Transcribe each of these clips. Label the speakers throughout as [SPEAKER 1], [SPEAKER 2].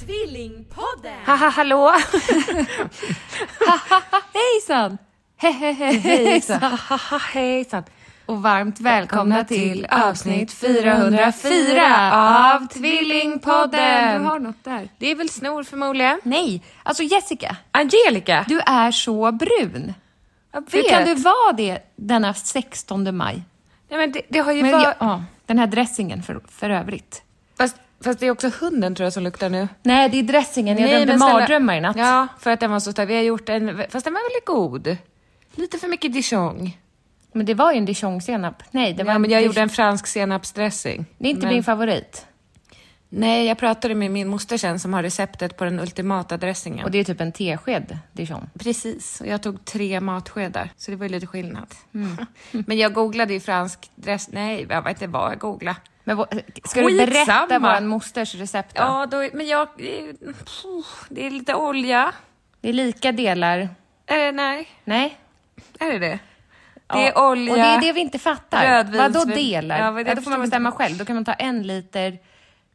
[SPEAKER 1] Tvillingpodden!
[SPEAKER 2] Haha hallå! hejsan! Hejsan! hejsan! Och varmt välkomna till avsnitt 404 av Tvillingpodden!
[SPEAKER 3] Du har något där.
[SPEAKER 2] Det är väl snor förmodligen?
[SPEAKER 3] Nej, alltså Jessica,
[SPEAKER 2] Angelica!
[SPEAKER 3] du är så brun.
[SPEAKER 2] Ah. jag
[SPEAKER 3] Hur
[SPEAKER 2] vet.
[SPEAKER 3] kan du vara det denna 16 maj?
[SPEAKER 2] Nej, men det, det har ju
[SPEAKER 3] Men,
[SPEAKER 2] varit...
[SPEAKER 3] ja, ja, den här dressingen för, för övrigt.
[SPEAKER 2] Fast, fast det är också hunden tror jag som luktar nu.
[SPEAKER 3] Nej, det är dressingen. Jag drömde
[SPEAKER 2] men snälla-
[SPEAKER 3] mardrömmar i natt.
[SPEAKER 2] Ja, för att den var så stark. Vi har gjort en... Fast den var väldigt god. Lite för mycket dijon.
[SPEAKER 3] Men det var ju en dijonsenap. Nej, det var
[SPEAKER 2] Ja, men jag
[SPEAKER 3] det-
[SPEAKER 2] gjorde en fransk senapsdressing.
[SPEAKER 3] Det är inte
[SPEAKER 2] men...
[SPEAKER 3] min favorit.
[SPEAKER 2] Nej, jag pratade med min moster sen som har receptet på den ultimata dressingen.
[SPEAKER 3] Och det är typ en tesked dijon.
[SPEAKER 2] Precis, och jag tog tre matskedar, så det var ju lite skillnad.
[SPEAKER 3] Mm.
[SPEAKER 2] Men jag googlade ju fransk dress... Nej, jag vet inte vad jag googlade.
[SPEAKER 3] Men vå- ska du
[SPEAKER 2] Skitsamma.
[SPEAKER 3] berätta vår mosters recept då?
[SPEAKER 2] Ja, då, men jag... Puh, Det är lite olja.
[SPEAKER 3] Det är lika delar...
[SPEAKER 2] Är det, nej,
[SPEAKER 3] Nej,
[SPEAKER 2] är det det?
[SPEAKER 3] Ja.
[SPEAKER 2] Det är olja.
[SPEAKER 3] Och det är det vi inte fattar.
[SPEAKER 2] rödvins-
[SPEAKER 3] Vadå delar?
[SPEAKER 2] Ja,
[SPEAKER 3] Ja,
[SPEAKER 2] vad-
[SPEAKER 3] då
[SPEAKER 2] jag
[SPEAKER 3] får man
[SPEAKER 2] förstår
[SPEAKER 3] bestämma
[SPEAKER 2] inte.
[SPEAKER 3] själv. Då kan man ta en liter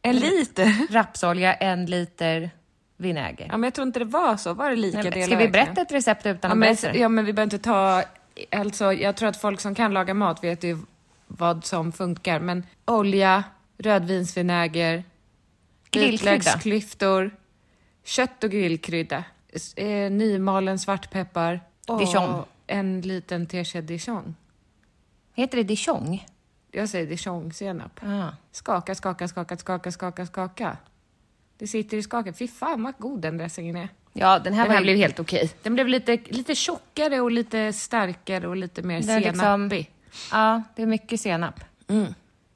[SPEAKER 2] En liter?
[SPEAKER 3] rapsolja, en liter vinäger.
[SPEAKER 2] Ja, men jag tror inte det var så. Var det lika
[SPEAKER 3] Nej, men
[SPEAKER 2] delar?
[SPEAKER 3] Ska vi berätta
[SPEAKER 2] verkligen?
[SPEAKER 3] ett recept utan
[SPEAKER 2] Ja
[SPEAKER 3] att
[SPEAKER 2] men,
[SPEAKER 3] berätta det?
[SPEAKER 2] ja, men vi behöver inte ta... Alltså, jag tror att folk som kan laga mat vet ju vad som funkar. Men olja, rödvinsvinäger,
[SPEAKER 3] Grillkrydda.
[SPEAKER 2] vitlöksklyftor, kött och grillkrydda, s- eh, nymalen svartpeppar och
[SPEAKER 3] Dijon.
[SPEAKER 2] en liten tesked dijon.
[SPEAKER 3] Heter det dijon? Ah.
[SPEAKER 2] Jag säger dijonsenap.
[SPEAKER 3] Ja.
[SPEAKER 2] Skaka, skaka, skaka, skaka, skaka, skaka. Det sitter i skaket. Fy fan vad god den dressingen är.
[SPEAKER 3] Ja, den här,
[SPEAKER 2] Den här
[SPEAKER 3] var
[SPEAKER 2] blev
[SPEAKER 3] ju...
[SPEAKER 2] helt okej. Den blev lite, lite tjockare och lite starkare och lite mer
[SPEAKER 3] Den är liksom-
[SPEAKER 2] senapig.
[SPEAKER 3] Ja, det är mycket senap.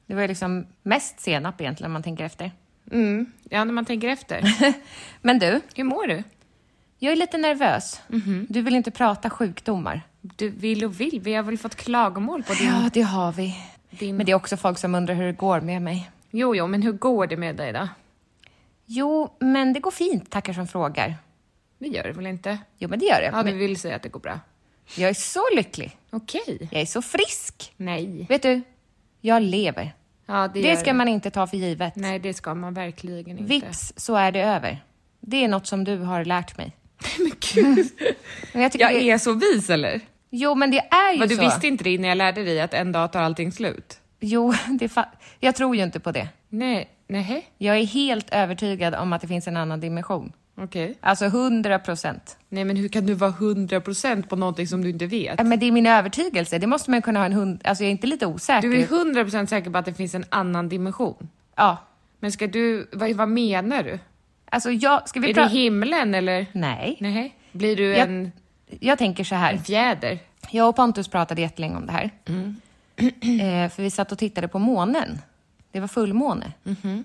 [SPEAKER 3] Det var ju liksom mest senap egentligen om man tänker efter.
[SPEAKER 2] Mm. Ja, när man tänker efter.
[SPEAKER 3] Men du,
[SPEAKER 2] Hur mår du?
[SPEAKER 3] jag är lite nervös. Du vill inte prata sjukdomar.
[SPEAKER 2] Du vill och vill. Vi har väl fått klagomål på din...
[SPEAKER 3] Ja, det har vi.
[SPEAKER 2] Din-
[SPEAKER 3] Men det är också folk som undrar hur det går med mig.
[SPEAKER 2] Jo, jo, men hur går det med dig då?
[SPEAKER 3] Jo, men det går fint, tackar som frågar.
[SPEAKER 2] Det gör det väl inte?
[SPEAKER 3] Jo, men det gör det.
[SPEAKER 2] Ja, du
[SPEAKER 3] men
[SPEAKER 2] vill säga att det går bra.
[SPEAKER 3] jag är så lycklig.
[SPEAKER 2] Okej.
[SPEAKER 3] Jag är så frisk.
[SPEAKER 2] Nej.
[SPEAKER 3] Vet du, jag lever.
[SPEAKER 2] Ja, det,
[SPEAKER 3] Det,
[SPEAKER 2] gör
[SPEAKER 3] ska man inte ta för givet.
[SPEAKER 2] Nej, det ska man verkligen inte.
[SPEAKER 3] Vips så är det över. Det är något som du har lärt mig.
[SPEAKER 2] Men gud.
[SPEAKER 3] Men jag tycker
[SPEAKER 2] Jag
[SPEAKER 3] det...
[SPEAKER 2] är så vis, eller?
[SPEAKER 3] Jo, men det är ju
[SPEAKER 2] Vad, du
[SPEAKER 3] så.
[SPEAKER 2] visste inte det innan jag lärde dig att en dag tar allting slut?
[SPEAKER 3] Jo, det är fa... jag tror ju inte på det.
[SPEAKER 2] Nej. Nej.
[SPEAKER 3] Jag är helt övertygad om att det finns en annan dimension.
[SPEAKER 2] Okej.
[SPEAKER 3] Alltså 100 procent.
[SPEAKER 2] Nej, men hur kan du vara 100% på någonting som du inte vet?
[SPEAKER 3] Men det är min övertygelse. Det måste man ju kunna ha en hund... Alltså jag är inte lite osäker.
[SPEAKER 2] Du är 100% säker på att det finns en annan dimension.
[SPEAKER 3] Ja.
[SPEAKER 2] Men ska du, vad, vad menar du?
[SPEAKER 3] Alltså jag... Ska vi
[SPEAKER 2] är det
[SPEAKER 3] prata...
[SPEAKER 2] himlen eller?
[SPEAKER 3] Nej.
[SPEAKER 2] Nej. Blir du
[SPEAKER 3] Jag,
[SPEAKER 2] en
[SPEAKER 3] jag tänker så här.
[SPEAKER 2] fjäder?
[SPEAKER 3] Jag och Pontus pratade jättelänge om det här.
[SPEAKER 2] Mm.
[SPEAKER 3] eh, för vi satt och tittade på månen. Det var fullmåne.
[SPEAKER 2] Mm-hmm.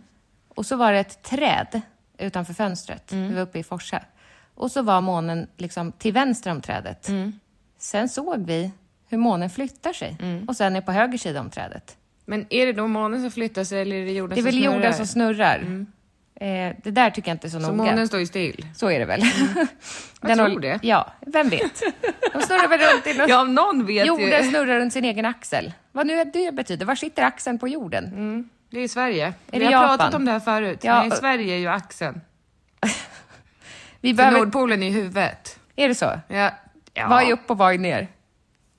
[SPEAKER 3] Och så var det ett träd utanför fönstret.
[SPEAKER 2] Mm.
[SPEAKER 3] Vi var uppe i Forsa. Och så var månen liksom till vänster om trädet.
[SPEAKER 2] Mm.
[SPEAKER 3] Sen såg vi hur månen flyttar sig.
[SPEAKER 2] Mm.
[SPEAKER 3] Och sen är på höger sida om trädet.
[SPEAKER 2] Men är det då månen som flyttar sig eller är det jorden
[SPEAKER 3] Det är
[SPEAKER 2] som
[SPEAKER 3] väl jorden som
[SPEAKER 2] snurrar? Mm.
[SPEAKER 3] snurrar. Eh, det där tycker jag inte är så,
[SPEAKER 2] Så
[SPEAKER 3] noga.
[SPEAKER 2] månen står ju still?
[SPEAKER 3] Så är det väl?
[SPEAKER 2] Jag
[SPEAKER 3] Den
[SPEAKER 2] tror
[SPEAKER 3] håll-
[SPEAKER 2] det.
[SPEAKER 3] Ja, vem vet? De snurrar väl runt i någon
[SPEAKER 2] Ja, om någon vet
[SPEAKER 3] Jorden
[SPEAKER 2] ju.
[SPEAKER 3] snurrar runt sin egen axel. Vad nu det betyder. Var sitter axeln på jorden?
[SPEAKER 2] Mm. Det är i Sverige.
[SPEAKER 3] Är
[SPEAKER 2] Vi
[SPEAKER 3] det
[SPEAKER 2] har
[SPEAKER 3] Japan?
[SPEAKER 2] pratat om det här förut.
[SPEAKER 3] Ja.
[SPEAKER 2] Nej, Sverige är ju axeln.
[SPEAKER 3] Vi
[SPEAKER 2] För
[SPEAKER 3] behöver...
[SPEAKER 2] Nordpolen är i huvudet.
[SPEAKER 3] Är det så?
[SPEAKER 2] Ja. ja.
[SPEAKER 3] Vad är upp och vad är ner?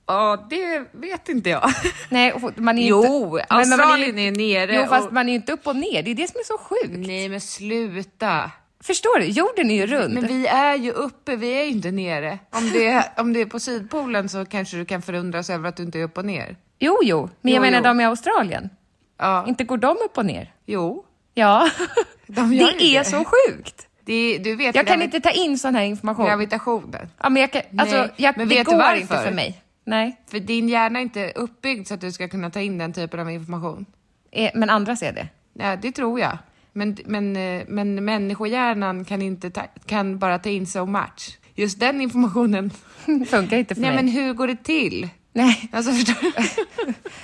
[SPEAKER 2] Ja, det vet inte jag.
[SPEAKER 3] Nej, och man är ju
[SPEAKER 2] Jo,
[SPEAKER 3] inte... men man
[SPEAKER 2] Australien
[SPEAKER 3] ju-
[SPEAKER 2] är nere
[SPEAKER 3] Jo, fast
[SPEAKER 2] och-
[SPEAKER 3] man är ju inte upp och ner. Det är det som är så sjukt.
[SPEAKER 2] Nej, men sluta.
[SPEAKER 3] Förstår du? Jorden är ju rund.
[SPEAKER 2] Men vi är ju uppe, vi är ju inte nere. Om det är, om det är på Sydpolen så kanske du kan förundras över att du inte är upp och ner.
[SPEAKER 3] Jo, jo. Men jag
[SPEAKER 2] Jo,
[SPEAKER 3] menar
[SPEAKER 2] jo.
[SPEAKER 3] de i Australien.
[SPEAKER 2] Ja.
[SPEAKER 3] Inte går de upp och ner.
[SPEAKER 2] Jo.
[SPEAKER 3] Ja.
[SPEAKER 2] De
[SPEAKER 3] det
[SPEAKER 2] gör ju
[SPEAKER 3] är
[SPEAKER 2] det.
[SPEAKER 3] så sjukt.
[SPEAKER 2] Det, är- du vet
[SPEAKER 3] Jag kan
[SPEAKER 2] gravi-
[SPEAKER 3] inte ta in sån här information.
[SPEAKER 2] gravitationen.
[SPEAKER 3] Ja, men jag kan, alltså,
[SPEAKER 2] Nej,
[SPEAKER 3] jag,
[SPEAKER 2] men
[SPEAKER 3] det
[SPEAKER 2] vet du
[SPEAKER 3] går
[SPEAKER 2] varför?
[SPEAKER 3] inte för mig. Nej,
[SPEAKER 2] För din hjärna är inte uppbyggd så att du ska kunna ta in den typen av information.
[SPEAKER 3] Eh, men andra ser det.
[SPEAKER 2] Ja, det tror jag. Men, men, eh, men människohjärnan kan, inte ta, kan bara ta in so much. Just den informationen.
[SPEAKER 3] Funkar inte för
[SPEAKER 2] Nej,
[SPEAKER 3] mig.
[SPEAKER 2] men hur går det till?
[SPEAKER 3] Nej.
[SPEAKER 2] Alltså, förstår du?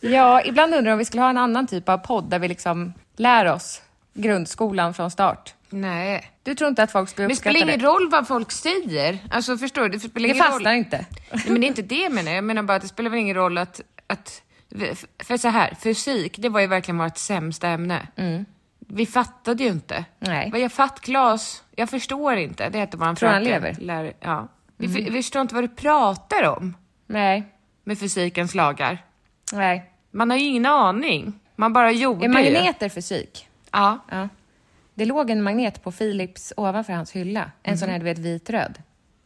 [SPEAKER 3] Ja, ibland undrar jag om vi skulle ha en annan typ av podd där vi liksom lär oss grundskolan från start.
[SPEAKER 2] Nej.
[SPEAKER 3] Du tror inte att folk skulle
[SPEAKER 2] Men det
[SPEAKER 3] uppskatta
[SPEAKER 2] spelar ingen
[SPEAKER 3] det?
[SPEAKER 2] roll vad folk säger. Alltså, förstår du? Det spelar
[SPEAKER 3] Det
[SPEAKER 2] ingen
[SPEAKER 3] fastnar
[SPEAKER 2] roll.
[SPEAKER 3] inte.
[SPEAKER 2] Nej, men det är inte det jag menar. Jag menar bara att det spelar väl ingen roll att... att för så här, fysik, det var ju verkligen vårt sämsta ämne. Vi fattade ju inte.
[SPEAKER 3] Mm. Nej.
[SPEAKER 2] Vad jag fatt, Klas, jag förstår inte. Det hette våran
[SPEAKER 3] Tror han
[SPEAKER 2] fröken.
[SPEAKER 3] lever? Mm.
[SPEAKER 2] Lär, ja. Vi, för, vi förstår inte vad du pratar om
[SPEAKER 3] Nej.
[SPEAKER 2] med fysikens lagar.
[SPEAKER 3] Nej.
[SPEAKER 2] Man har ju ingen aning. Man bara gjorde
[SPEAKER 3] Är
[SPEAKER 2] ju.
[SPEAKER 3] magneter fysik?
[SPEAKER 2] Ja.
[SPEAKER 3] Ja. Det låg en magnet på Philips ovanför hans hylla. En
[SPEAKER 2] Mhm.
[SPEAKER 3] sån här, du vet, vit-röd.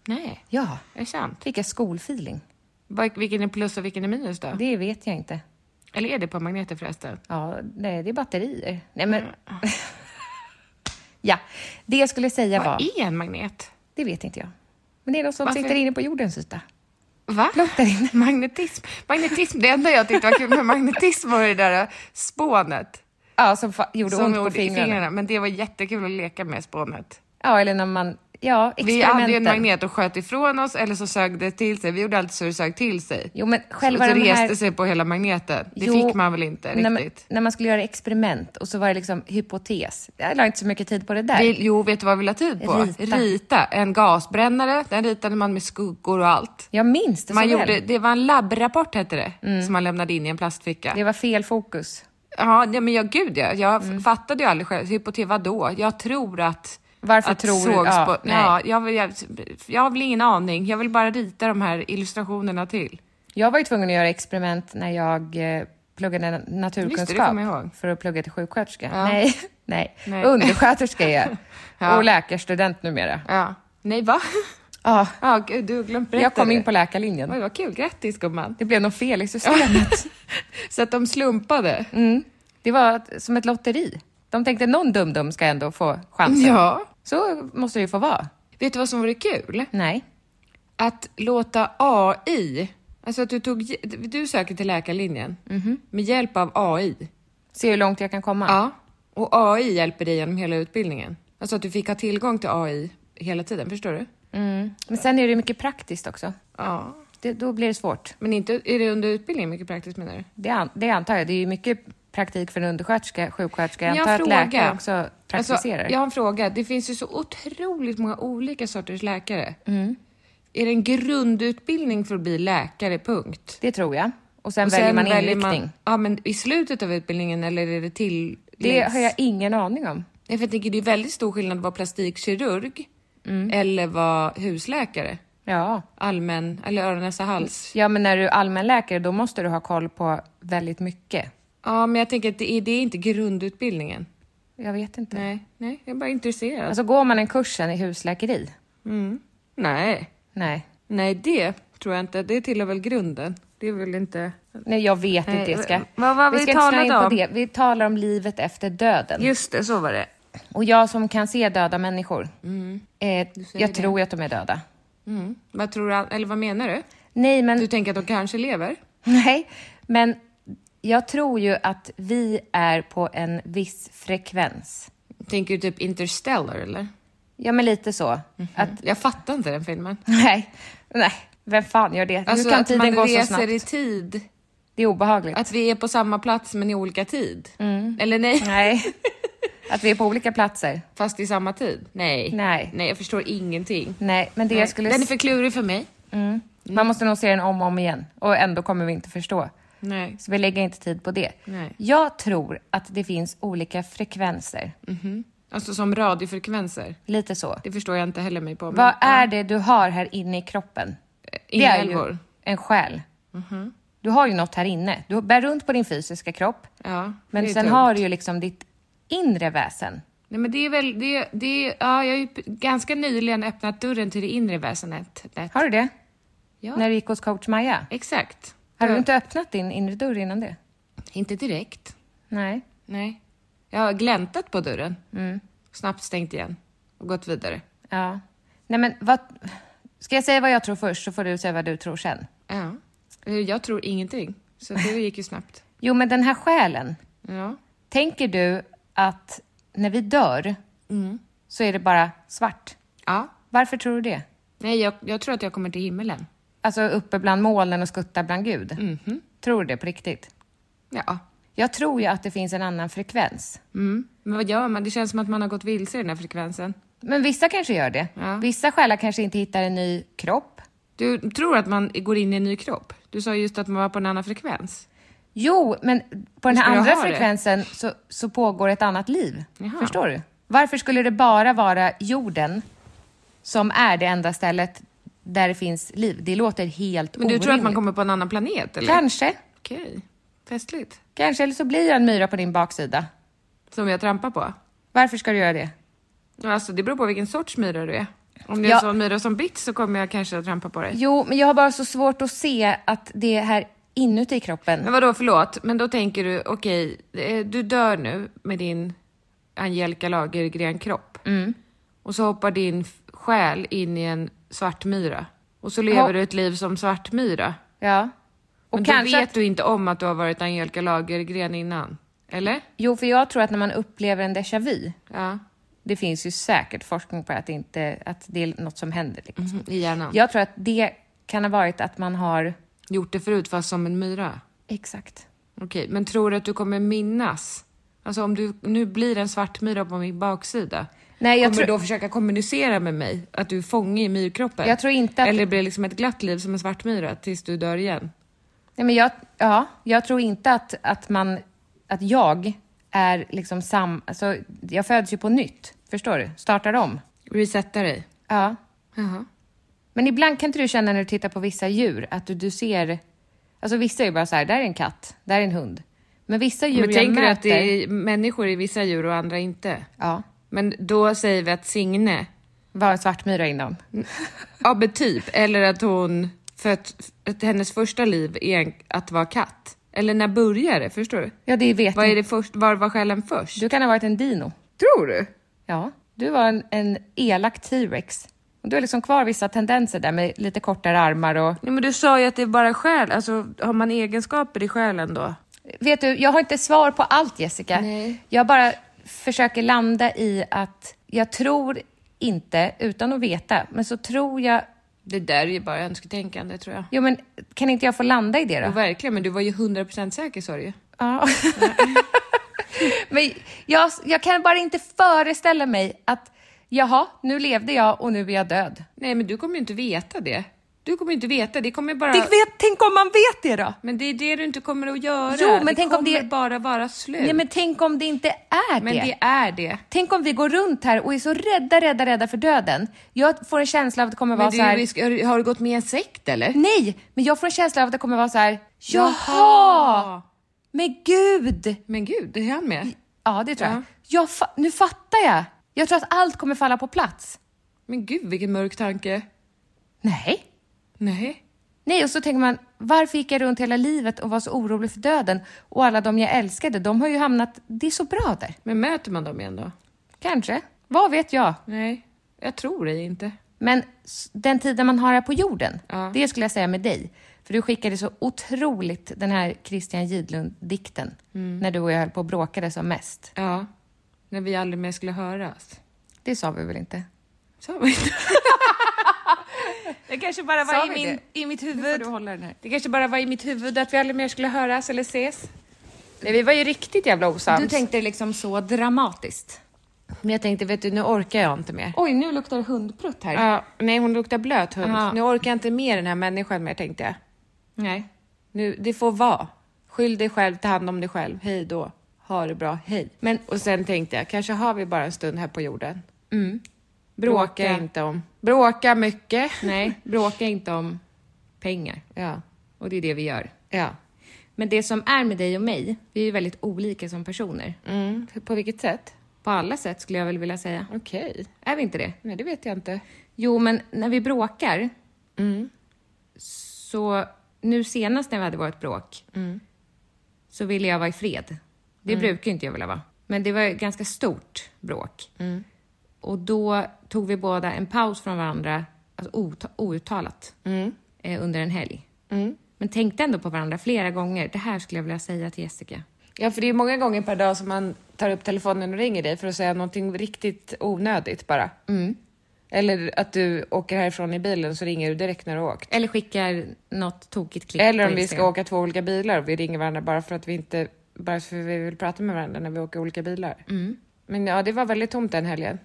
[SPEAKER 2] Nej,
[SPEAKER 3] Ja.
[SPEAKER 2] det är sant.
[SPEAKER 3] Fick jag skolfeeling?
[SPEAKER 2] Vad- Vilken är plus och vilken är minus då?
[SPEAKER 3] Det vet jag inte.
[SPEAKER 2] Eller är det på magneter förresten?
[SPEAKER 3] Ja, nej, det är batterier. Nej, men...
[SPEAKER 2] Mm.
[SPEAKER 3] ja, det jag skulle säga var...
[SPEAKER 2] Vad är en magnet?
[SPEAKER 3] Det vet inte jag. Men det är något som
[SPEAKER 2] Varför?
[SPEAKER 3] sitter inne på jordens yta.
[SPEAKER 2] Va?
[SPEAKER 3] Långt där inne.
[SPEAKER 2] Magnetism. Magnetism, det enda jag tyckte var kul med magnetism var det där eh, spånet.
[SPEAKER 3] Ja, som fa- gjorde
[SPEAKER 2] Som
[SPEAKER 3] ont
[SPEAKER 2] gjorde
[SPEAKER 3] på
[SPEAKER 2] i
[SPEAKER 3] fingrarna.
[SPEAKER 2] fingrarna. Men det var jättekul att leka med spånet.
[SPEAKER 3] Ja, eller när man... Ja,
[SPEAKER 2] Vi hade ju en
[SPEAKER 3] experimenten.
[SPEAKER 2] magnet och sköt ifrån oss eller så sög det till sig. Vi gjorde alltid så det sög till sig.
[SPEAKER 3] Jo, men själva
[SPEAKER 2] och så
[SPEAKER 3] de
[SPEAKER 2] reste
[SPEAKER 3] här-
[SPEAKER 2] sig på hela magneten. Det
[SPEAKER 3] Jo,
[SPEAKER 2] fick man väl inte riktigt?
[SPEAKER 3] när man, när man skulle göra experiment och så var det liksom hypotes. Jag la inte så mycket tid på det där.
[SPEAKER 2] Vi, jo, vet du vad vi la tid på?
[SPEAKER 3] Rita.
[SPEAKER 2] En gasbrännare. Den ritade man med skuggor och allt.
[SPEAKER 3] Jag minns det
[SPEAKER 2] Man
[SPEAKER 3] så
[SPEAKER 2] gjorde,
[SPEAKER 3] väl. Mm.
[SPEAKER 2] det var en labbrapport hette det, som man lämnade in i en plastficka.
[SPEAKER 3] Det var fel fokus.
[SPEAKER 2] Ja, nej, men jag, gud ja, jag
[SPEAKER 3] Mm.
[SPEAKER 2] fattade ju aldrig själv. Hypotes, vadå? Jag tror att...
[SPEAKER 3] Varför
[SPEAKER 2] att
[SPEAKER 3] tror du?
[SPEAKER 2] sågspå-
[SPEAKER 3] Ja, nej.
[SPEAKER 2] ja, jag, vill- jag, jag har väl ingen aning. Jag vill bara rita de här illustrationerna till.
[SPEAKER 3] Jag var ju tvungen att göra experiment när jag eh, pluggade na-
[SPEAKER 2] Just det,
[SPEAKER 3] naturkunskap
[SPEAKER 2] det kommer jag ihåg.
[SPEAKER 3] för att plugga till sjuksköterska.
[SPEAKER 2] Ja.
[SPEAKER 3] Nej, nej.
[SPEAKER 2] Nej.
[SPEAKER 3] undersköterska är jag.
[SPEAKER 2] Ja.
[SPEAKER 3] Och läkarstudent numera.
[SPEAKER 2] Ja. Nej, va?
[SPEAKER 3] Ja.
[SPEAKER 2] Ja, gud, du har glömt berätta
[SPEAKER 3] Jag kom in
[SPEAKER 2] det.
[SPEAKER 3] på läkarlinjen.
[SPEAKER 2] Oj, vad kul. Grattis, gumman.
[SPEAKER 3] Det blev något fel i systemet.
[SPEAKER 2] Så att de slumpade.
[SPEAKER 3] Mm. Det var ett- som ett lotteri. De tänkte någon dum-dum ska ändå få chansen.
[SPEAKER 2] Ja.
[SPEAKER 3] Så måste det ju få vara.
[SPEAKER 2] Vet du vad som vore kul?
[SPEAKER 3] Nej.
[SPEAKER 2] Att låta AI, alltså att du tog, du söker till läkarlinjen
[SPEAKER 3] Mm-hmm.
[SPEAKER 2] med hjälp av AI.
[SPEAKER 3] Se hur långt jag kan komma.
[SPEAKER 2] Ja. Och AI hjälper dig genom hela utbildningen. Alltså att du fick ha tillgång till AI hela tiden, förstår du?
[SPEAKER 3] Mm. Men sen är det mycket praktiskt också.
[SPEAKER 2] Ja.
[SPEAKER 3] Det, då blir det svårt.
[SPEAKER 2] Men inte, är det under utbildningen mycket praktiskt menar du?
[SPEAKER 3] Det, an- det antar jag. Det är ju mycket praktik för en undersköterska, sjuksköterska. Jag
[SPEAKER 2] Men jag
[SPEAKER 3] antar att
[SPEAKER 2] frågar.
[SPEAKER 3] läkare också praktiserar.
[SPEAKER 2] Alltså, jag har en fråga. Det finns ju så otroligt många olika sorters läkare.
[SPEAKER 3] Mm.
[SPEAKER 2] Är det en grundutbildning för att bli läkare, punkt?
[SPEAKER 3] Det tror jag. Och sen
[SPEAKER 2] Och
[SPEAKER 3] väljer
[SPEAKER 2] sen
[SPEAKER 3] man
[SPEAKER 2] väljer
[SPEAKER 3] inriktning.
[SPEAKER 2] ja, men i slutet av utbildningen eller är det till...
[SPEAKER 3] Det har jag ingen aning om.
[SPEAKER 2] Nej, för jag tänker det är väldigt stor skillnad att vara plastikkirurg
[SPEAKER 3] Mm.
[SPEAKER 2] eller vara husläkare.
[SPEAKER 3] Ja.
[SPEAKER 2] Allmän, eller öron, näsa, hals.
[SPEAKER 3] ja, men när du är allmänläkare då måste du ha koll på väldigt mycket.
[SPEAKER 2] Ja, men jag tänker att det är, det är inte grundutbildningen.
[SPEAKER 3] Jag vet inte.
[SPEAKER 2] Nej, nej, jag är bara intresserad. Mm.
[SPEAKER 3] Alltså går man en kursen i husläkeri?
[SPEAKER 2] nej,
[SPEAKER 3] Nej.
[SPEAKER 2] nej, det tror jag inte. Det tillhör väl grunden. Det är väl inte...
[SPEAKER 3] Nej, jag vet
[SPEAKER 2] Nej,
[SPEAKER 3] inte Jessica.
[SPEAKER 2] vad var vi
[SPEAKER 3] ska inte snöa in
[SPEAKER 2] talade
[SPEAKER 3] på
[SPEAKER 2] om?
[SPEAKER 3] det. Vi talar om livet efter döden.
[SPEAKER 2] Just det, så var det.
[SPEAKER 3] Och jag som kan se döda människor, eh, jag tror ju att de är döda.
[SPEAKER 2] Mm. Vad tror du, eller vad menar du?
[SPEAKER 3] Nej, men...
[SPEAKER 2] Du tänker att de kanske lever?
[SPEAKER 3] Nej, men jag tror ju att vi är på en viss frekvens.
[SPEAKER 2] Tänker du typ Interstellar eller?
[SPEAKER 3] Ja, men lite så.
[SPEAKER 2] Mhm.
[SPEAKER 3] Att,
[SPEAKER 2] Jag fattar inte den filmen.
[SPEAKER 3] nej, nej, vem fan gör det?
[SPEAKER 2] Alltså
[SPEAKER 3] Hur kan
[SPEAKER 2] att man
[SPEAKER 3] tiden gå så
[SPEAKER 2] reser
[SPEAKER 3] snabbt?
[SPEAKER 2] i tid.
[SPEAKER 3] Det är obehagligt.
[SPEAKER 2] Att vi är på samma plats men i olika tid. Eller nej,
[SPEAKER 3] Mm. Nej, att vi är på olika platser.
[SPEAKER 2] fast i samma tid. Nej.
[SPEAKER 3] Nej.
[SPEAKER 2] Nej, jag förstår ingenting.
[SPEAKER 3] Nej, men det
[SPEAKER 2] Nej.
[SPEAKER 3] jag skulle...
[SPEAKER 2] Den är
[SPEAKER 3] s-
[SPEAKER 2] för klurig för mig.
[SPEAKER 3] mm. Man måste nog se den om och om igen och ändå kommer vi inte förstå.
[SPEAKER 2] Nej.
[SPEAKER 3] Så vi lägger inte tid på det.
[SPEAKER 2] Nej.
[SPEAKER 3] Jag tror att det finns olika frekvenser.
[SPEAKER 2] Alltså som radiofrekvenser.
[SPEAKER 3] Lite så.
[SPEAKER 2] Det förstår jag inte heller mig på. men-
[SPEAKER 3] Vad är det du har här inne i kroppen?
[SPEAKER 2] Inälvor.
[SPEAKER 3] ju en själ.
[SPEAKER 2] Mhm.
[SPEAKER 3] Du har ju något här inne. Du bär runt på din fysiska kropp.
[SPEAKER 2] Ja,
[SPEAKER 3] men
[SPEAKER 2] det är
[SPEAKER 3] sen
[SPEAKER 2] tungt.
[SPEAKER 3] har du ju liksom ditt inre väsen.
[SPEAKER 2] Nej men det är väl, det, det, ja, jag har ju p- ganska nyligen öppnat dörren till det inre väsendet. Nät.
[SPEAKER 3] Har du det?
[SPEAKER 2] Ja.
[SPEAKER 3] När du gick hos coach Maja?
[SPEAKER 2] Exakt.
[SPEAKER 3] Har du
[SPEAKER 2] Ja.
[SPEAKER 3] inte öppnat din inre dörr innan det?
[SPEAKER 2] Inte direkt.
[SPEAKER 3] Nej.
[SPEAKER 2] Nej. Jag har gläntat på dörren.
[SPEAKER 3] Mm.
[SPEAKER 2] Snabbt stängt igen och gått vidare.
[SPEAKER 3] Ja. Nej men vad... Ska jag säga vad jag tror först så får du säga vad du tror sen?
[SPEAKER 2] Ja. Eh, Jag tror ingenting, så det gick ju snabbt.
[SPEAKER 3] Jo men den här själen.
[SPEAKER 2] Ja.
[SPEAKER 3] Tänker du att när vi dör
[SPEAKER 2] Mm.
[SPEAKER 3] så är det bara svart?
[SPEAKER 2] ja.
[SPEAKER 3] Varför tror du det?
[SPEAKER 2] Nej, jag, jag tror att jag kommer till himmelen.
[SPEAKER 3] Alltså uppe bland molnen och skutta bland Gud?
[SPEAKER 2] Mhm.
[SPEAKER 3] Tror du det på riktigt?
[SPEAKER 2] Ja.
[SPEAKER 3] Jag tror ju att det finns en annan frekvens.
[SPEAKER 2] Mm. Men vad gör man? Det känns som att man har gått vilse i den här frekvensen.
[SPEAKER 3] Men vissa kanske gör det.
[SPEAKER 2] Ja.
[SPEAKER 3] Vissa själar kanske inte hittar en ny kropp.
[SPEAKER 2] Du tror att man går in i en ny kropp? Du sa just att man var på en annan frekvens.
[SPEAKER 3] Jo, men på den
[SPEAKER 2] ska
[SPEAKER 3] här
[SPEAKER 2] jag
[SPEAKER 3] andra
[SPEAKER 2] ha det?
[SPEAKER 3] frekvensen så, så pågår ett annat liv.
[SPEAKER 2] Jaha.
[SPEAKER 3] Förstår du? Varför skulle det bara vara jorden som är det enda stället där det finns liv? Det låter helt
[SPEAKER 2] Men du tror att man
[SPEAKER 3] orimligt.
[SPEAKER 2] kommer på en annan planet? Eller?
[SPEAKER 3] Kanske.
[SPEAKER 2] Okej. Festligt.
[SPEAKER 3] Kanske, eller så blir jag en myra på din baksida.
[SPEAKER 2] Som jag trampar på.
[SPEAKER 3] Varför ska du göra det?
[SPEAKER 2] Alltså, det beror på vilken sorts myra du är. Om det är
[SPEAKER 3] Ja.
[SPEAKER 2] en sån myra som bits så kommer jag kanske att trampa på dig.
[SPEAKER 3] Jo, men jag har bara så svårt att se att det är här inuti kroppen.
[SPEAKER 2] Men vadå, förlåt, men då tänker du, okej, eh, du dör nu med din Angelica Lagergren-kropp.
[SPEAKER 3] Mm.
[SPEAKER 2] Och så hoppar din f- själ in i en svartmyra. Och så lever
[SPEAKER 3] Ja.
[SPEAKER 2] du ett liv som svartmyra.
[SPEAKER 3] Ja. Och
[SPEAKER 2] Men då
[SPEAKER 3] kanske
[SPEAKER 2] vet
[SPEAKER 3] att,
[SPEAKER 2] du inte om att du har varit Angelica Lagergren innan. Eller?
[SPEAKER 3] Jo, för jag tror att när man upplever en déjà vu,
[SPEAKER 2] Ja.
[SPEAKER 3] det finns ju säkert forskning på att det, inte, att det är något som händer. Liksom.
[SPEAKER 2] I hjärnan.
[SPEAKER 3] Jag tror att det kan ha varit att man har...
[SPEAKER 2] Gjort det förut fast som en myra.
[SPEAKER 3] Exakt.
[SPEAKER 2] Okej, men tror du att du kommer minnas? Alltså om du nu blir en svartmyra på min baksida.
[SPEAKER 3] Nej, jag
[SPEAKER 2] kommer du
[SPEAKER 3] tror-
[SPEAKER 2] då försöka kommunicera med mig? Att du är fånge i myrkroppen?
[SPEAKER 3] Jag tror inte att-
[SPEAKER 2] Eller blir det liksom ett glatt liv som en svartmyra tills du dör igen?
[SPEAKER 3] Nej, men jag, ja, jag tror inte att, att, man, att jag är liksom sam... Alltså, jag föds ju på nytt. Förstår du? Startar om.
[SPEAKER 2] Resetta dig?
[SPEAKER 3] Ja.
[SPEAKER 2] Jaha.
[SPEAKER 3] Men ibland kan inte du känna när du tittar på vissa djur att du, du ser... Alltså vissa är ju bara så här, där är en katt, där är en hund. Men vissa djur
[SPEAKER 2] Men
[SPEAKER 3] jag
[SPEAKER 2] tänker du
[SPEAKER 3] möter...
[SPEAKER 2] att det är människor i vissa djur och andra inte?
[SPEAKER 3] Ja,
[SPEAKER 2] Men då säger vi att Signe,
[SPEAKER 3] var en svartmyra innan.
[SPEAKER 2] ja men typ, eller att hon, för att, att hennes första liv är en, att vara katt. Eller när börjar det? Förstår du?
[SPEAKER 3] Ja, det vet
[SPEAKER 2] Vad är
[SPEAKER 3] jag.
[SPEAKER 2] det först, var var själen först?
[SPEAKER 3] Du kan ha varit en dino.
[SPEAKER 2] Tror du?
[SPEAKER 3] Ja, du var en, en elak T-rex. Och du har liksom kvar vissa tendenser där med lite kortare armar och...
[SPEAKER 2] Nej, men du sa ju att det är bara själ, alltså har man egenskaper i själen då?
[SPEAKER 3] Vet du, jag har inte svar på allt Jessica.
[SPEAKER 2] Nej.
[SPEAKER 3] Jag bara försöker landa i att jag tror inte, utan att veta, men så tror jag...
[SPEAKER 2] Det där är ju bara önsketänkande tror jag.
[SPEAKER 3] Jo, men kan inte jag få landa i det då?
[SPEAKER 2] Ja, verkligen, men du var ju 100% säker sa du ju.
[SPEAKER 3] Ja. Men jag, jag kan bara inte föreställa mig att jaha, nu levde jag och nu är jag död.
[SPEAKER 2] Nej, men du kommer ju inte veta det. Du kommer ju inte veta, det kommer bara...
[SPEAKER 3] Tänk, vet, tänk om man vet det då?
[SPEAKER 2] Men det är det du inte kommer att göra.
[SPEAKER 3] Jo, men
[SPEAKER 2] det
[SPEAKER 3] tänk
[SPEAKER 2] kommer
[SPEAKER 3] om det-
[SPEAKER 2] bara vara slut.
[SPEAKER 3] Nej, men tänk om det inte är
[SPEAKER 2] Men
[SPEAKER 3] det.
[SPEAKER 2] det är det.
[SPEAKER 3] Tänk om vi går runt här och är så rädda, rädda, rädda för döden. Jag får en känsla av att det kommer vara
[SPEAKER 2] Men
[SPEAKER 3] så
[SPEAKER 2] du, är
[SPEAKER 3] här...
[SPEAKER 2] ju risk... har du- har du gått med i en sekt eller?
[SPEAKER 3] Nej, men jag får en känsla av att det kommer vara så här... Jaha!
[SPEAKER 2] Jaha!
[SPEAKER 3] Men gud!
[SPEAKER 2] Men gud, är han med?
[SPEAKER 3] Ja, det tror jag.
[SPEAKER 2] Ja.
[SPEAKER 3] jag fa- nu fattar jag. Jag tror att allt kommer falla på plats.
[SPEAKER 2] Men gud, vilken mörk tanke.
[SPEAKER 3] Nej.
[SPEAKER 2] Nej.
[SPEAKER 3] Nej, och så tänker man, varför gick jag runt hela livet och var så orolig för döden? Och alla de jag älskade, de har ju hamnat... Det är så bra där.
[SPEAKER 2] Men möter man dem igen då?
[SPEAKER 3] Kanske. Vad vet jag?
[SPEAKER 2] Nej, jag tror det inte.
[SPEAKER 3] Men s- den tiden man har här på jorden,
[SPEAKER 2] Ja.
[SPEAKER 3] det skulle jag säga med dig. För du skickade så otroligt den här Christian Gidlund-dikten
[SPEAKER 2] Mm.
[SPEAKER 3] när du och jag höll på och bråkade som mest.
[SPEAKER 2] Ja, när vi aldrig mer skulle höras.
[SPEAKER 3] Det sa vi väl inte?
[SPEAKER 2] Sa vi inte? Det kanske bara
[SPEAKER 3] Sa
[SPEAKER 2] var i,
[SPEAKER 3] vi
[SPEAKER 2] min, i mitt
[SPEAKER 3] Nu får
[SPEAKER 2] huvud.
[SPEAKER 3] du hålla den här.
[SPEAKER 2] Det kanske bara var i mitt huvud att vi aldrig mer skulle höras eller ses. Nej, vi var ju riktigt jävla osams.
[SPEAKER 3] Du tänkte liksom så dramatiskt.
[SPEAKER 2] Men jag tänkte, vet du, nu orkar jag inte mer.
[SPEAKER 3] Oj, nu luktar det hundprutt här.
[SPEAKER 2] Ja, nej, hon luktar blöt hund.
[SPEAKER 3] Ja.
[SPEAKER 2] Nu orkar jag inte med den här människan mer, tänkte jag.
[SPEAKER 3] Nej.
[SPEAKER 2] Nu, det får vara. Skyll dig själv, ta hand om dig själv. Hej då. ha det bra, hej. Men, och sen tänkte jag, kanske har vi bara en stund här på jorden. Bråka,
[SPEAKER 3] Bråka.
[SPEAKER 2] inte om... Bråka mycket.
[SPEAKER 3] Nej, bråka inte om pengar.
[SPEAKER 2] Ja.
[SPEAKER 3] Och det är det vi gör.
[SPEAKER 2] Ja.
[SPEAKER 3] Men det som är med dig och mig, vi är ju väldigt olika som personer.
[SPEAKER 2] Mm. På vilket sätt?
[SPEAKER 3] På alla sätt skulle jag väl vilja säga.
[SPEAKER 2] Okej.
[SPEAKER 3] Är vi inte det?
[SPEAKER 2] Nej, det vet jag inte.
[SPEAKER 3] Jo, men när vi bråkar,
[SPEAKER 2] Mm.
[SPEAKER 3] så nu senast när vi hade vårt bråk,
[SPEAKER 2] Mm.
[SPEAKER 3] så ville jag vara i fred. Det brukar ju inte jag vilja vara. Men det var ett ganska stort bråk.
[SPEAKER 2] Mm.
[SPEAKER 3] Och då tog vi båda en paus från varandra, alltså ota- outtalat,
[SPEAKER 2] Mm.
[SPEAKER 3] eh, under en helg. Men tänkte ändå på varandra flera gånger. Det här skulle jag vilja säga till Jessica.
[SPEAKER 2] Ja, för det är många gånger per dag som man tar upp telefonen och ringer dig för att säga någonting riktigt onödigt bara.
[SPEAKER 3] Mm.
[SPEAKER 2] Eller att du åker härifrån i bilen så ringer du direkt när du har åkt.
[SPEAKER 3] Eller skickar något tokigt klipp
[SPEAKER 2] Eller
[SPEAKER 3] på
[SPEAKER 2] om vi ska
[SPEAKER 3] Instagram.
[SPEAKER 2] åka två olika bilar och vi ringer varandra bara för att vi inte bara för att vi vill prata med varandra när vi åker olika bilar.
[SPEAKER 3] Mm.
[SPEAKER 2] Men ja, det var väldigt tomt den helgen.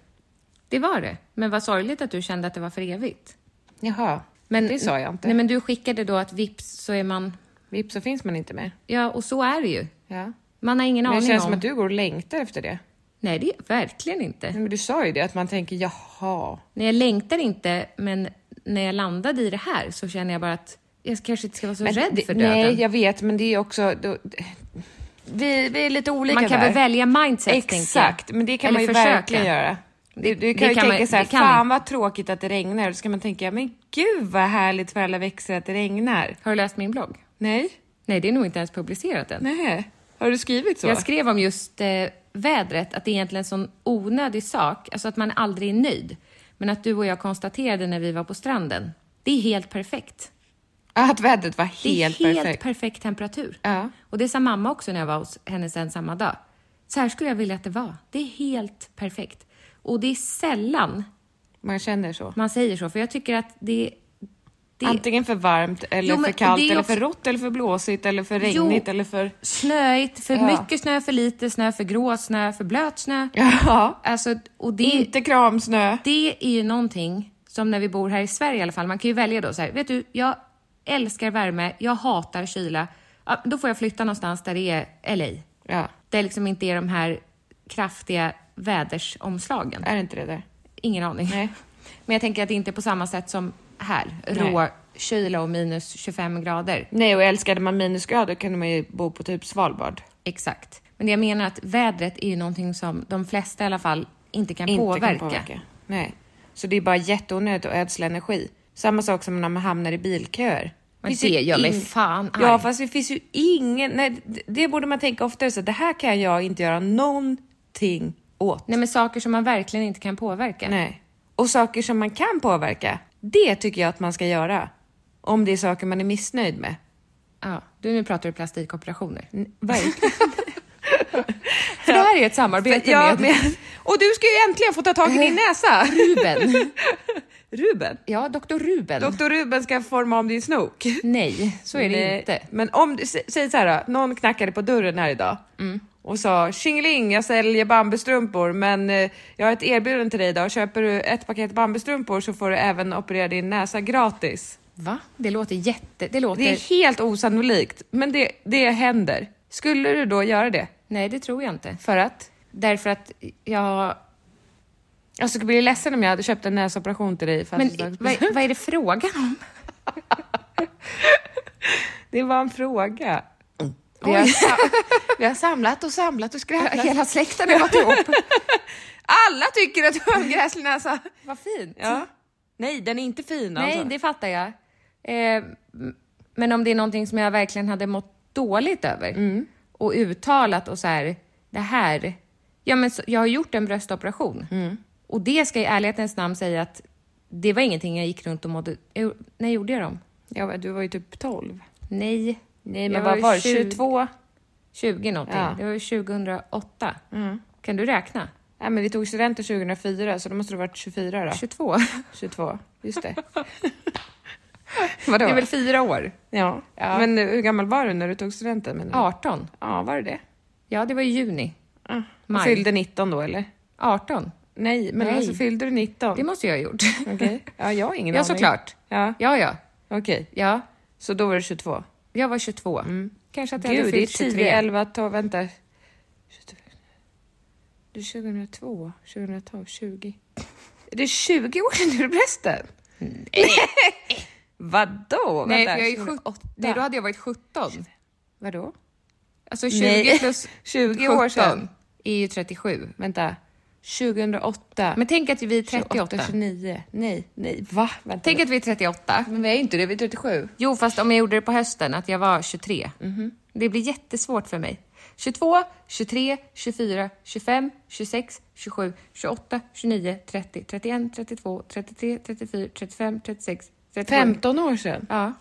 [SPEAKER 3] Det var det. Men vad sorgligt att du kände att det var för evigt.
[SPEAKER 2] Jaha,
[SPEAKER 3] Men,
[SPEAKER 2] det sa jag inte.
[SPEAKER 3] Nej, men du skickade då att vips så är man...
[SPEAKER 2] Vips så finns man inte med.
[SPEAKER 3] Ja, och så är det ju.
[SPEAKER 2] Ja.
[SPEAKER 3] Man har ingen
[SPEAKER 2] Men det
[SPEAKER 3] aning
[SPEAKER 2] känns
[SPEAKER 3] om...
[SPEAKER 2] som att du Mm. går och längtar efter det.
[SPEAKER 3] Nej, det är verkligen inte.
[SPEAKER 2] Nej, men du sa ju det, att man tänker jaha.
[SPEAKER 3] Nej, jag längtar inte, men när jag landade i det här så känner jag bara att jag kanske inte ska vara så
[SPEAKER 2] Men
[SPEAKER 3] rädd
[SPEAKER 2] det-
[SPEAKER 3] för döden.
[SPEAKER 2] Nej, jag vet, men det är också... Då, vi, vi är lite olika
[SPEAKER 3] man kan
[SPEAKER 2] där.
[SPEAKER 3] väl välja mindset, tänker jag.
[SPEAKER 2] Exakt, men det kan
[SPEAKER 3] Eller
[SPEAKER 2] man ju
[SPEAKER 3] försöka.
[SPEAKER 2] verkligen göra. Du, du
[SPEAKER 3] det
[SPEAKER 2] kan ju
[SPEAKER 3] kan
[SPEAKER 2] tänka
[SPEAKER 3] man-
[SPEAKER 2] så här,
[SPEAKER 3] det kan
[SPEAKER 2] fan
[SPEAKER 3] man."
[SPEAKER 2] vad tråkigt att det regnar. Då ska man tänka, men gud vad härligt för alla växter att det regnar.
[SPEAKER 3] Har du läst min blogg?
[SPEAKER 2] Nej,
[SPEAKER 3] Nej, det är nog inte ens publicerat än.
[SPEAKER 2] nej. Har du skrivit så?
[SPEAKER 3] Jag skrev om just eh, vädret, att det är egentligen en sån onödig sak, alltså att man aldrig är nöjd. Men att du och jag konstaterade när vi var på stranden, det är helt perfekt.
[SPEAKER 2] Att vädret var
[SPEAKER 3] Det är
[SPEAKER 2] helt,
[SPEAKER 3] helt, helt perfekt.
[SPEAKER 2] perfekt.
[SPEAKER 3] temperatur.
[SPEAKER 2] Ja.
[SPEAKER 3] Och det sa mamma också när jag var hos henne sen samma dag. Så här skulle jag vilja att det var. Det är helt perfekt. Och det är sällan
[SPEAKER 2] man känner så.
[SPEAKER 3] man säger så, för jag tycker att det... det
[SPEAKER 2] Antingen för varmt, eller
[SPEAKER 3] Jo, men
[SPEAKER 2] för kallt,
[SPEAKER 3] det är
[SPEAKER 2] eller
[SPEAKER 3] också-
[SPEAKER 2] för rått, eller för blåsigt, eller för
[SPEAKER 3] Jo.
[SPEAKER 2] regnigt, eller för...
[SPEAKER 3] Snöigt, för
[SPEAKER 2] Ja.
[SPEAKER 3] mycket snö, för lite snö, för grå snö, för blöt snö.
[SPEAKER 2] Ja.
[SPEAKER 3] Alltså, och det...
[SPEAKER 2] Inte kramsnö.
[SPEAKER 3] det är ju någonting som när vi bor här i Sverige i alla fall, man kan ju välja då så här, vet du, jag älskar värme, jag hatar kyla. Ja, då får jag flytta någonstans där det är LA.
[SPEAKER 2] Ja,
[SPEAKER 3] Där liksom inte är de här kraftiga vädersomslagen.
[SPEAKER 2] är det inte det där?
[SPEAKER 3] Ingen aning.
[SPEAKER 2] Nej.
[SPEAKER 3] Men jag tänker att det inte är på samma sätt som här, rå kyla och minus 25 grader.
[SPEAKER 2] Nej, och älskade man minusgrader kunde man ju bo på typ Svalbard.
[SPEAKER 3] Exakt. Men det jag menar att vädret är ju någonting som de flesta i alla fall inte kan,
[SPEAKER 2] inte
[SPEAKER 3] påverka.
[SPEAKER 2] kan påverka. Nej. Så det är bara jätteonödigt att ödsla energi. Samma sak som när man hamnar i bilköer.
[SPEAKER 3] Men
[SPEAKER 2] Finns ju
[SPEAKER 3] det gör mig
[SPEAKER 2] ing-
[SPEAKER 3] fan arg.
[SPEAKER 2] Ja, fast det finns ju ingen... Nej, det- det borde man tänka oftare. Så det här kan jag inte göra någonting åt.
[SPEAKER 3] Nej, men saker som man verkligen inte kan påverka.
[SPEAKER 2] Nej. Och saker som man kan påverka, det tycker jag att man ska göra. Om det är saker man är missnöjd med.
[SPEAKER 3] Ja, du, nu pratar du plastikoperationer.
[SPEAKER 2] Verkligen.
[SPEAKER 3] För det här är ett samarbete
[SPEAKER 2] ja,
[SPEAKER 3] med
[SPEAKER 2] men, och du ska ju äntligen få ta tag i din näsa!
[SPEAKER 3] Eh, Ruben.
[SPEAKER 2] Ruben.
[SPEAKER 3] Ja, doktor Ruben.
[SPEAKER 2] Doktor Ruben ska forma om din snok.
[SPEAKER 3] Nej, så är det
[SPEAKER 2] Nej,
[SPEAKER 3] inte.
[SPEAKER 2] Men om du sä- säger så här då, någon knackade på dörren här idag och sa tjingeling, jag säljer bambustrumpor men eh, jag har ett erbjudande till dig idag. Köper du ett paket bambustrumpor så får du även operera din näsa gratis.
[SPEAKER 3] Va? Det låter jätte... Det låter...
[SPEAKER 2] Det är helt osannolikt, men det, det händer. Skulle du då göra det?
[SPEAKER 3] Nej, det tror jag inte.
[SPEAKER 2] För att?
[SPEAKER 3] Därför att jag...
[SPEAKER 2] Jag skulle bli ledsen om jag hade köpt en näsoperation till dig. i
[SPEAKER 3] Men
[SPEAKER 2] födelsedagspresent.
[SPEAKER 3] vad, vad är det frågan om?
[SPEAKER 2] Det var en fråga. Vi har, sam- vi har samlat och samlat och skrävlat.
[SPEAKER 3] Hela släkten har varit ihop.
[SPEAKER 2] Alla tycker att du har en gräslig näsa.
[SPEAKER 3] Vad fint.
[SPEAKER 2] Ja. Nej, den är inte fin
[SPEAKER 3] Nej,
[SPEAKER 2] alltså.
[SPEAKER 3] det fattar jag. Eh, m- men om det är någonting som jag verkligen hade mått dåligt över
[SPEAKER 2] Mm.
[SPEAKER 3] och uttalat och så här, det här. Ja, men så, jag har gjort en bröstoperation
[SPEAKER 2] Mm.
[SPEAKER 3] och det ska i ärlighetens namn säga att det var ingenting jag gick runt och mådde... Jo, När gjorde jag dem?
[SPEAKER 2] Ja, du var ju typ 12.
[SPEAKER 3] Nej.
[SPEAKER 2] Nej,
[SPEAKER 3] Jag
[SPEAKER 2] men vad var det?
[SPEAKER 3] tjugo-
[SPEAKER 2] 22?
[SPEAKER 3] 20 någonting.
[SPEAKER 2] Ja. Mm.
[SPEAKER 3] Det var ju 2008. Kan du räkna?
[SPEAKER 2] Nej, men vi tog studenten 2004, så då måste du ha varit 24 då.
[SPEAKER 3] 22.
[SPEAKER 2] 22, just det.
[SPEAKER 3] Vadå? Det är väl fyra år?
[SPEAKER 2] Ja.
[SPEAKER 3] Ja.
[SPEAKER 2] Men eh, hur gammal var du när du tog studenten? Menar du?
[SPEAKER 3] 18.
[SPEAKER 2] Ja, var det det?
[SPEAKER 3] Ja, det var i juni.
[SPEAKER 2] Ja.
[SPEAKER 3] Maj.
[SPEAKER 2] Fyllde 19 då, eller?
[SPEAKER 3] 18.
[SPEAKER 2] Nej, men
[SPEAKER 3] Nej.
[SPEAKER 2] alltså fyllde du 19?
[SPEAKER 3] Det måste jag ha gjort.
[SPEAKER 2] Okej. Ja, jag har ingen
[SPEAKER 3] Ja,
[SPEAKER 2] aning.
[SPEAKER 3] såklart.
[SPEAKER 2] Ja,
[SPEAKER 3] Ja, ja.
[SPEAKER 2] okej.
[SPEAKER 3] Ja,
[SPEAKER 2] Så då var du Mm. 22?
[SPEAKER 3] jag var 22. Kanske att jag
[SPEAKER 2] Gud,
[SPEAKER 3] hade
[SPEAKER 2] det är
[SPEAKER 3] fyllt
[SPEAKER 2] 10,
[SPEAKER 3] 23.
[SPEAKER 2] 11, 12, vänta. Det är 2002, 2012, 20. Är det 20 år sedan du blev prästen?
[SPEAKER 3] Vadå?
[SPEAKER 2] Nej,
[SPEAKER 3] Vänta,
[SPEAKER 2] för jag är
[SPEAKER 3] 2008.
[SPEAKER 2] 17. Nej, då hade jag varit 17.
[SPEAKER 3] Vadå?
[SPEAKER 2] Alltså 20
[SPEAKER 3] Nej.
[SPEAKER 2] plus
[SPEAKER 3] 20 år
[SPEAKER 2] 17
[SPEAKER 3] sedan.
[SPEAKER 2] är ju 37. Vänta. 2008.
[SPEAKER 3] Men tänk att vi är 38.
[SPEAKER 2] 29. Nej, nej, va? Vänta.
[SPEAKER 3] Tänk att vi är 38.
[SPEAKER 2] men vi är inte det, vi är 37.
[SPEAKER 3] Jo, fast om jag gjorde det på hösten, att jag var 23.
[SPEAKER 2] Mhm.
[SPEAKER 3] Det blir jättesvårt för mig. 22, 23, 24, 25, 26, 27, 28, 29, 30, 31, 32, 33, 34, 35, 36, 37.
[SPEAKER 2] 15 år sedan.
[SPEAKER 3] Ja.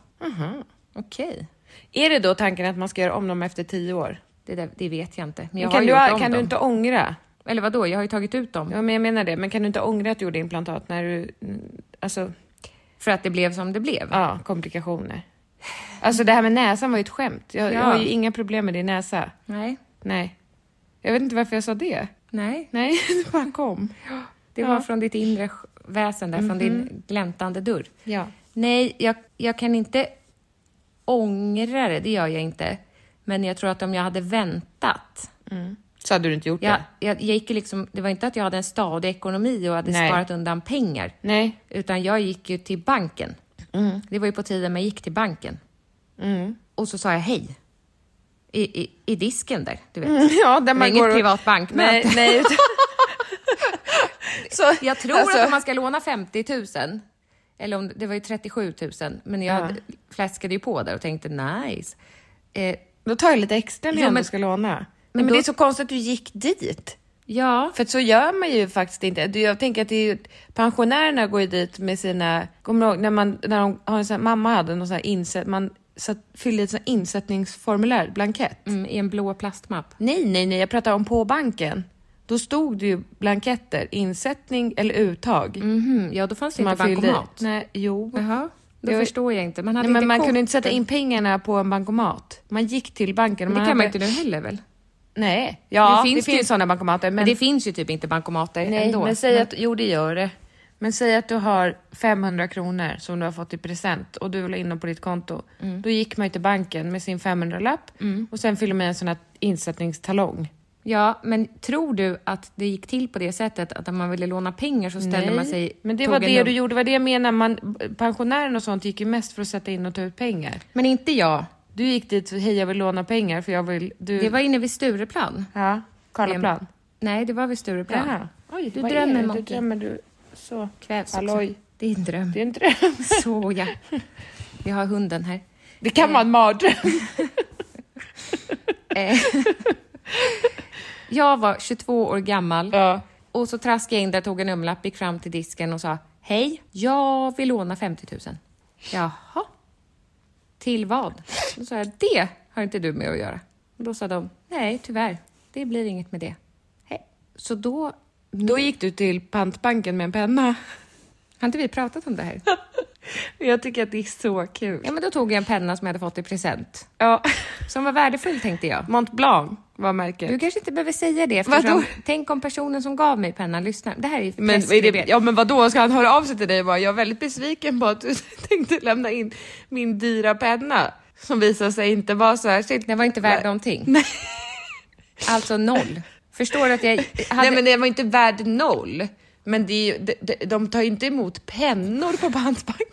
[SPEAKER 3] Okej.
[SPEAKER 2] Är det då tanken att man ska göra om dem efter 10 år?
[SPEAKER 3] Det, där, det vet jag inte. Men
[SPEAKER 2] Men
[SPEAKER 3] jag
[SPEAKER 2] kan
[SPEAKER 3] har
[SPEAKER 2] du,
[SPEAKER 3] gjort om
[SPEAKER 2] kan
[SPEAKER 3] dem.
[SPEAKER 2] du inte ångra?
[SPEAKER 3] Eller vadå, jag har ju tagit ut dem.
[SPEAKER 2] Ja, men jag menar det. Men kan du inte ångra att du gjorde implantat när du... Alltså,
[SPEAKER 3] För att det blev som det blev.
[SPEAKER 2] ja, komplikationer. Alltså det här med näsan var ju ett skämt. Jag, jag
[SPEAKER 3] Ja.
[SPEAKER 2] har ju inga problem med din näsa.
[SPEAKER 3] Nej.
[SPEAKER 2] Nej. Jag vet inte varför jag sa det.
[SPEAKER 3] Nej.
[SPEAKER 2] Nej, det bara kom.
[SPEAKER 3] Det var från ditt inre sj- väsen där, från
[SPEAKER 2] Mhm.
[SPEAKER 3] din gläntande dörr.
[SPEAKER 2] Ja.
[SPEAKER 3] Nej, jag, jag kan inte ångra det, det gör jag inte. Men jag tror att om jag hade väntat.
[SPEAKER 2] Så hade du inte gjort
[SPEAKER 3] Jag,
[SPEAKER 2] det?
[SPEAKER 3] jag, jag gick ju liksom, det var inte att jag hade en stadig ekonomi och hade
[SPEAKER 2] Nej.
[SPEAKER 3] sparat undan pengar.
[SPEAKER 2] Nej.
[SPEAKER 3] Utan jag gick ju till banken.
[SPEAKER 2] Mm.
[SPEAKER 3] Det var ju på tiden man gick till banken. Och så sa jag hej. I, i, i disken där, du vet.
[SPEAKER 2] Ja, där
[SPEAKER 3] Det var
[SPEAKER 2] Mm. man
[SPEAKER 3] inget
[SPEAKER 2] går och-
[SPEAKER 3] privat bankmöte.
[SPEAKER 2] Nej, nej. utan- så,
[SPEAKER 3] Jag tror
[SPEAKER 2] alltså,
[SPEAKER 3] att om man ska låna 50 000, eller om det var ju 37 000, men jag hade- fläskade ju på där och tänkte nice. Eh,
[SPEAKER 2] Då tar jag lite extra när
[SPEAKER 3] Jo,
[SPEAKER 2] jag ändå
[SPEAKER 3] men-
[SPEAKER 2] ska låna. Men,
[SPEAKER 3] men
[SPEAKER 2] men
[SPEAKER 3] då-
[SPEAKER 2] det är så konstigt att du gick dit.
[SPEAKER 3] ja,
[SPEAKER 2] För att så gör man ju faktiskt inte. Du, Jag tänker att det är ju, pensionärerna går ju dit med sina, kommer du ihåg när man, när de har en sån här, mamma hade någon sån här insätt, man satt, fyllde i ett sån här insättningsformulär, blankett.
[SPEAKER 3] mm, i en blå plastmapp.
[SPEAKER 2] Nej, nej, nej, jag pratar om på banken. Då stod det ju blanketter, insättning eller uttag.
[SPEAKER 3] Mhm, ja, då fanns det inte
[SPEAKER 2] fyllde i.
[SPEAKER 3] bankomat.
[SPEAKER 2] Nej, jo.
[SPEAKER 3] Jaha, då
[SPEAKER 2] Jag-
[SPEAKER 3] förstår jag inte. Man hade
[SPEAKER 2] Nej, men
[SPEAKER 3] inte
[SPEAKER 2] man
[SPEAKER 3] kort.
[SPEAKER 2] kunde inte sätta in pengarna på en bankomat. Man gick till banken.
[SPEAKER 3] Men det
[SPEAKER 2] man
[SPEAKER 3] kan man
[SPEAKER 2] hade-
[SPEAKER 3] inte nu heller väl?
[SPEAKER 2] Nej, ja, det finns,
[SPEAKER 3] finns
[SPEAKER 2] det
[SPEAKER 3] ju-
[SPEAKER 2] finns sådana bankomater. Men,
[SPEAKER 3] Men det finns ju typ inte bankomater
[SPEAKER 2] nej,
[SPEAKER 3] ändå.
[SPEAKER 2] men säg att, jo det gör det. Men säg att du har 500 kronor som du har fått i present och du vill ha in dem på ditt konto.
[SPEAKER 3] Mm.
[SPEAKER 2] Då gick man ju till banken med sin 500-lapp och sen fyller man i en sån här insättningstalong.
[SPEAKER 3] Ja, men tror du att det gick till på det sättet att om man ville låna pengar så ställde man sig...
[SPEAKER 2] men det
[SPEAKER 3] tog
[SPEAKER 2] var
[SPEAKER 3] en
[SPEAKER 2] det
[SPEAKER 3] num-
[SPEAKER 2] du gjorde, det var det jag menade. Man, pensionären och sånt gick ju mest för att sätta in och ta ut pengar.
[SPEAKER 3] Men inte jag.
[SPEAKER 2] Du gick dit och hej jag vill låna pengar för jag vill... Du...
[SPEAKER 3] Det var inne vid Stureplan.
[SPEAKER 2] Ja, Karlaplan.
[SPEAKER 3] Nej, det var vid Stureplan.
[SPEAKER 2] Jaha. Oj,
[SPEAKER 3] Du
[SPEAKER 2] vad är
[SPEAKER 3] drömmer,
[SPEAKER 2] det?
[SPEAKER 3] Monty.
[SPEAKER 2] Du drömmer du så.
[SPEAKER 3] Kvävs också.
[SPEAKER 2] Halloj.
[SPEAKER 3] Det är en dröm.
[SPEAKER 2] Det är en dröm.
[SPEAKER 3] Så ja. Vi har hunden här.
[SPEAKER 2] Det kan vara en mardröm.
[SPEAKER 3] Eh, Jag var 22 år gammal
[SPEAKER 2] Ja.
[SPEAKER 3] och så traskade jag in där, tog en umlapp, gick fram till disken och sa Hej, jag vill låna 50 000. Jaha. Till vad? Då sa jag, det har inte du med att göra. Då sa de, nej tyvärr, det blir inget med det. Hej. Så då,
[SPEAKER 2] Då gick du till pantbanken med en penna.
[SPEAKER 3] har inte vi pratat om det här?
[SPEAKER 2] Jag tycker att det är så kul.
[SPEAKER 3] Ja, men då tog jag en penna som jag hade fått i present.
[SPEAKER 2] Ja.
[SPEAKER 3] Som var värdefull tänkte jag.
[SPEAKER 2] Mont Blanc var märket.
[SPEAKER 3] Du kanske inte behöver säga det
[SPEAKER 2] Vadå?
[SPEAKER 3] eftersom, tänk om personen som gav mig pennan lyssnar. Det här är ju
[SPEAKER 2] Men, är det,
[SPEAKER 3] preskriberat.
[SPEAKER 2] ja, men vadå, ska han höra av sig till dig och bara, jag är väldigt besviken på att du tänkte lämna in min dyra penna som visar sig inte vara särskilt...
[SPEAKER 3] Den var inte värd någonting. Alltså noll. Förstår du att jag hade...
[SPEAKER 2] Nej men den var inte värd noll. Men det är ju, de, de, de tar ju inte emot pennor på pantbanken.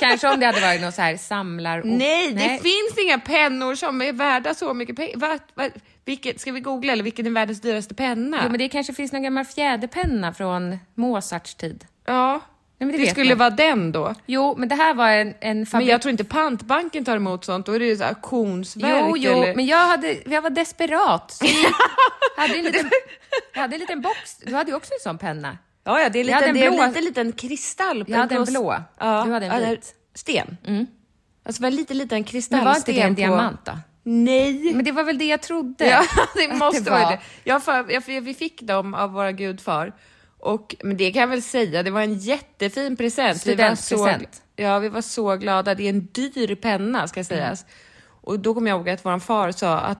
[SPEAKER 3] Kanske om det hade varit någon så här samlar... Och...
[SPEAKER 2] Nej, det finns inga pennor som är värda så mycket pengar. Va, va, vilket, ska vi googla eller vilken är världens dyraste penna?
[SPEAKER 3] Jo, men det kanske finns någon gammal fjäderpenna från Mozarts tid.
[SPEAKER 2] Ja,
[SPEAKER 3] men det
[SPEAKER 2] det,
[SPEAKER 3] vet
[SPEAKER 2] skulle
[SPEAKER 3] man.
[SPEAKER 2] vara den då.
[SPEAKER 3] Jo, men det här var en, en
[SPEAKER 2] Men
[SPEAKER 3] fabrik...
[SPEAKER 2] jag tror inte pantbanken tar emot sånt, då är det ju så här auktionsverk
[SPEAKER 3] Jo, jo,
[SPEAKER 2] eller...
[SPEAKER 3] men jag, hade, jag var desperat. Så jag, hade en liten, jag hade en liten box. Du hade ju också en sån penna.
[SPEAKER 2] Ja, ja, det är
[SPEAKER 3] Jag hade
[SPEAKER 2] lite,
[SPEAKER 3] en
[SPEAKER 2] det är
[SPEAKER 3] blå-
[SPEAKER 2] lite, liten kristall. på
[SPEAKER 3] Jag hade en
[SPEAKER 2] blå-
[SPEAKER 3] blå.
[SPEAKER 2] Ja,
[SPEAKER 3] Du hade en
[SPEAKER 2] ja, det är
[SPEAKER 3] vit. Mm.
[SPEAKER 2] Sten. Alltså var lite liten kristallsten
[SPEAKER 3] Men var inte det en
[SPEAKER 2] på...
[SPEAKER 3] diamant då?
[SPEAKER 2] Nej.
[SPEAKER 3] Men det var väl det jag trodde.
[SPEAKER 2] Ja, det
[SPEAKER 3] att
[SPEAKER 2] måste vara det. Jag för, jag, för, vi fick dem av våra gudfar. Och, men det kan jag väl säga, det var en jättefin present. Vi var så,
[SPEAKER 3] Studentpresent.
[SPEAKER 2] ja, vi var så glada. Det är en dyr penna ska sägas.
[SPEAKER 3] Mm.
[SPEAKER 2] Och då kommer jag ihåg att vår far sa att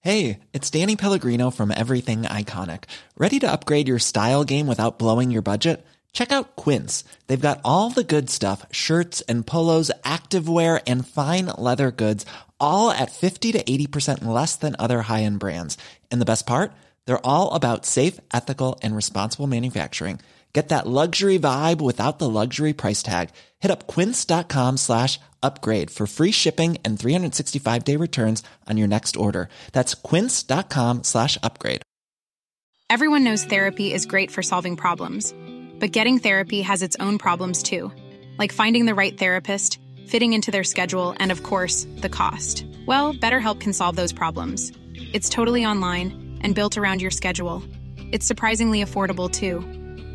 [SPEAKER 4] Hey, it's Danny Pellegrino from Everything Iconic. Ready to upgrade your style game without blowing your budget? Check out Quince. They've got all the good stuff shirts and polos, activewear, and fine leather goods, all at 50 to 80% less than other high end brands. And the best part? They're all about safe, ethical, and responsible manufacturing. Get that luxury vibe without the luxury price tag. Hit up quince.com slash upgrade for free shipping and 365 day returns on your next order. That's quince.com slash upgrade.
[SPEAKER 5] Everyone knows therapy is great for solving problems, but getting therapy has its own problems too, like finding the right therapist, fitting into their schedule, and of course, the cost. Well, BetterHelp can solve those problems. It's totally online and built around your schedule. It's surprisingly affordable too.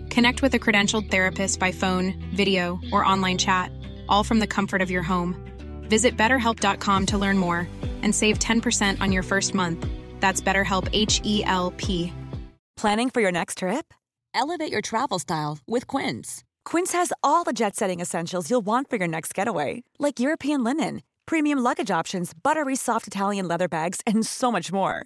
[SPEAKER 5] Connect with a credentialed therapist by phone, video, or online chat, all from the comfort of your home. Visit betterhelp.com to learn more and save 10% on your first month. That's BetterHelp H E L P.
[SPEAKER 6] Planning for your next trip? Elevate your travel style with Quince. Quince has all the jet setting essentials you'll want for your next getaway, like European linen, premium luggage options, buttery soft Italian leather bags, and so much more.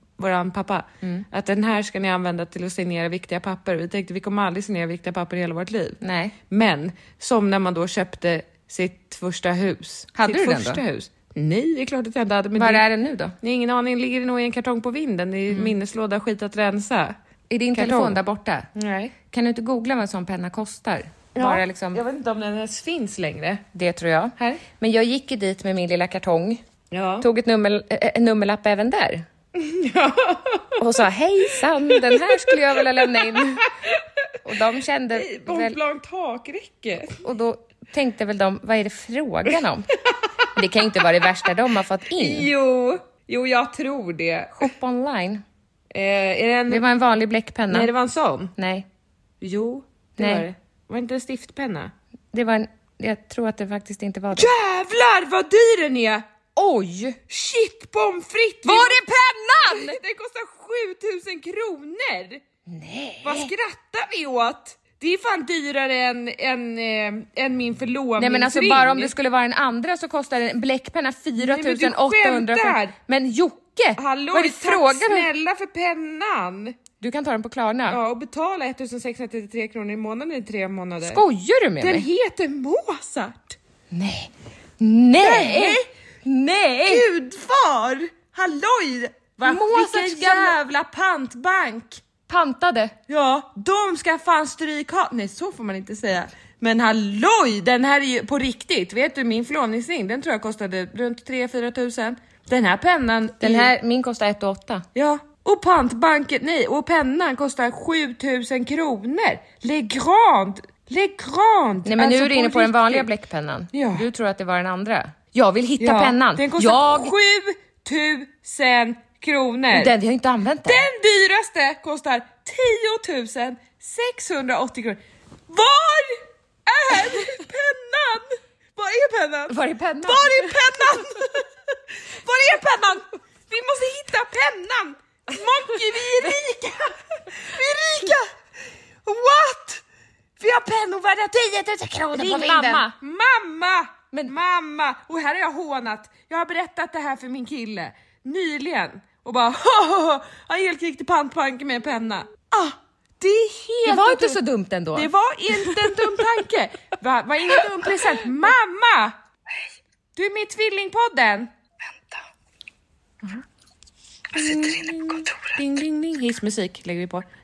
[SPEAKER 2] våran pappa,
[SPEAKER 3] Mm.
[SPEAKER 2] att den här ska ni använda till att signera viktiga papper. Vi tänkte vi kommer aldrig signera viktiga papper i hela vårt liv.
[SPEAKER 3] Nej.
[SPEAKER 2] Men som när man då köpte sitt första hus.
[SPEAKER 3] Hade
[SPEAKER 2] sitt
[SPEAKER 3] du den
[SPEAKER 2] första
[SPEAKER 3] då?
[SPEAKER 2] Hus. Nej, det är klart att jag inte hade. men
[SPEAKER 3] Var
[SPEAKER 2] det-
[SPEAKER 3] är den nu då?
[SPEAKER 2] Nej, ingen aning. Ligger det nog i en kartong på vinden? I minneslåda, skit att rensa.
[SPEAKER 3] I din
[SPEAKER 2] Kartong.
[SPEAKER 3] telefon där borta?
[SPEAKER 2] Nej.
[SPEAKER 3] Kan du inte googla vad en sån penna kostar? Bara liksom,
[SPEAKER 2] Jag vet inte om den ens finns längre.
[SPEAKER 3] Det tror jag.
[SPEAKER 2] Här.
[SPEAKER 3] Men jag gick ju dit med min lilla kartong.
[SPEAKER 2] Ja.
[SPEAKER 3] Tog ett nummer, eh, en nummerlapp även där. Och sa hejsan, den här skulle jag vilja lämna in. Och de kände väl...
[SPEAKER 2] Montblanc takräcke.
[SPEAKER 3] Och då tänkte väl de, vad är det frågan om? Det kan ju inte vara det värsta de har fått in.
[SPEAKER 2] Jo, jo jag tror det.
[SPEAKER 3] Shop online.
[SPEAKER 2] Eh, är det en...
[SPEAKER 3] Det var en vanlig bläckpenna.
[SPEAKER 2] Mm. Nej, det var en sån.
[SPEAKER 3] Nej,
[SPEAKER 2] Jo, det
[SPEAKER 3] Nej.
[SPEAKER 2] var det. Var inte en stiftpenna?
[SPEAKER 3] det var en... Jag tror att det faktiskt inte var det.
[SPEAKER 2] Jävlar vad dyr den är!
[SPEAKER 3] Oj!
[SPEAKER 2] Shit pommes frites!
[SPEAKER 3] Var är pennan?
[SPEAKER 2] Den kostar 7000 kronor! Nej! Vad skrattar vi åt? Det är fan dyrare än, än, eh, än min förlovningsring.
[SPEAKER 3] Nej men alltså bara om det skulle vara den andra så kostar en bläckpenna
[SPEAKER 2] men du
[SPEAKER 3] 4800
[SPEAKER 2] skämtar!
[SPEAKER 3] Men Jocke!
[SPEAKER 2] Hallå,
[SPEAKER 3] vad är det
[SPEAKER 2] tack
[SPEAKER 3] frågan om?
[SPEAKER 2] snälla för pennan!
[SPEAKER 3] Du kan ta den på Klarna.
[SPEAKER 2] Ja, och betala 1633 kronor i månaden i tre månader.
[SPEAKER 3] Skojar du med
[SPEAKER 2] Den
[SPEAKER 3] mig?
[SPEAKER 2] heter Mozart!
[SPEAKER 3] Nej. Nej! Nej!
[SPEAKER 2] Gudfar! Halloj! Va?
[SPEAKER 3] Mozarts
[SPEAKER 2] Vilken
[SPEAKER 3] gamla-
[SPEAKER 2] jävla pantbank!
[SPEAKER 3] Pantade.
[SPEAKER 2] Ja, de ska fan stryka... Nej, så får man inte säga. Men halloj! Den här är ju på riktigt. Vet du, min förlovningsring, den tror jag kostade runt 3-4 tusen. Den här pennan...
[SPEAKER 3] Den
[SPEAKER 2] är-
[SPEAKER 3] här, min kostar 1 8.
[SPEAKER 2] Ja. Och pantbanken, nej, och pennan kostar 7000 kronor. Le Grand! Le Grand!
[SPEAKER 3] Nej men nu
[SPEAKER 2] Alltså
[SPEAKER 3] är du inne på den
[SPEAKER 2] riktigt.
[SPEAKER 3] vanliga bläckpennan.
[SPEAKER 2] Ja.
[SPEAKER 3] Du tror att det var den andra. Jag vill hitta
[SPEAKER 2] Ja,
[SPEAKER 3] pennan.
[SPEAKER 2] Den kostar
[SPEAKER 3] jag...
[SPEAKER 2] 7000 kronor!
[SPEAKER 3] Den, jag har inte använt den.
[SPEAKER 2] Den dyraste kostar 10 680 kronor. Var är pennan? Var är pennan?
[SPEAKER 3] Var är pennan?
[SPEAKER 2] Var är pennan? Var är pennan? Vi måste hitta pennan! Monkey, vi är rika! Vi är rika! What? Vi har pennor värda 10 000 kronor på
[SPEAKER 3] Ring
[SPEAKER 2] vinden.
[SPEAKER 3] mamma.
[SPEAKER 2] Mamma!
[SPEAKER 3] Men-
[SPEAKER 2] Mamma! Och här har jag hånat. Jag har berättat det här för min kille nyligen och bara "Hahaha, han helt gick till pantbanken med en penna. Ah, det är
[SPEAKER 3] Det
[SPEAKER 2] helt
[SPEAKER 3] var inte
[SPEAKER 2] otroligt.
[SPEAKER 3] så dumt ändå.
[SPEAKER 2] Det var inte en dum tanke. Va, var ingen dum present. Mamma! Du är med i Tvillingpodden. Ding ding ding, hissmusik lägger vi på.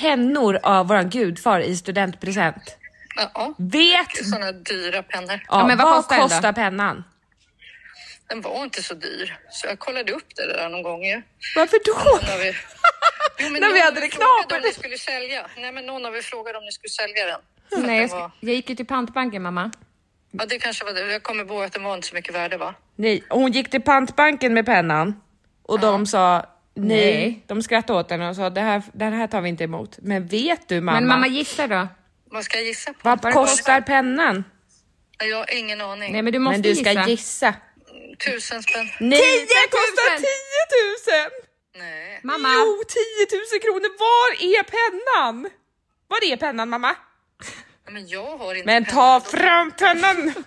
[SPEAKER 2] pennor av våran gudfar i studentpresent?
[SPEAKER 7] Ja,
[SPEAKER 2] Vet
[SPEAKER 7] sådana dyra pennor.
[SPEAKER 2] ja,
[SPEAKER 3] men vad
[SPEAKER 2] vad,
[SPEAKER 3] kostar den då?
[SPEAKER 2] kostar, pennan?
[SPEAKER 7] Den var inte så dyr, så jag kollade upp det där någon gång. ju.
[SPEAKER 2] Varför då?
[SPEAKER 7] När vi, Jo, men
[SPEAKER 2] När
[SPEAKER 7] ni
[SPEAKER 2] vi
[SPEAKER 7] har
[SPEAKER 2] hade
[SPEAKER 7] väl
[SPEAKER 2] det
[SPEAKER 7] frågat
[SPEAKER 2] knapert.
[SPEAKER 7] om ni skulle sälja. Nej, men någon av er frågade om ni skulle sälja den. Så att
[SPEAKER 3] Nej,
[SPEAKER 7] den
[SPEAKER 3] jag, sk-
[SPEAKER 7] var...
[SPEAKER 3] jag gick ju till pantbanken mamma.
[SPEAKER 7] Ja, det kanske var det. Jag kommer ihåg att den var inte så mycket värde, va?
[SPEAKER 2] Nej, hon gick till pantbanken med pennan och de sa nej.
[SPEAKER 3] Nej.
[SPEAKER 2] De skrattade åt henne och sa det här, den här tar vi inte emot. Men vet du mamma,
[SPEAKER 3] Men mamma gissa då.
[SPEAKER 7] Vad ska jag gissa på?
[SPEAKER 2] vad kostar pennan?
[SPEAKER 7] Nej, Jag har ingen aning.
[SPEAKER 3] Nej men du måste
[SPEAKER 2] Men du
[SPEAKER 3] gissa.
[SPEAKER 2] ska gissa.
[SPEAKER 7] Tusen spänn?
[SPEAKER 2] Nej,
[SPEAKER 3] 10 000!
[SPEAKER 2] den kostar 10 000!
[SPEAKER 7] Nej.
[SPEAKER 3] Mamma,
[SPEAKER 2] Jo, 10 000 kronor! Var är pennan? Var är pennan mamma?
[SPEAKER 7] Nej, Men jag har inte
[SPEAKER 2] Men
[SPEAKER 7] penna.
[SPEAKER 2] ta
[SPEAKER 7] Då-
[SPEAKER 2] fram pennan!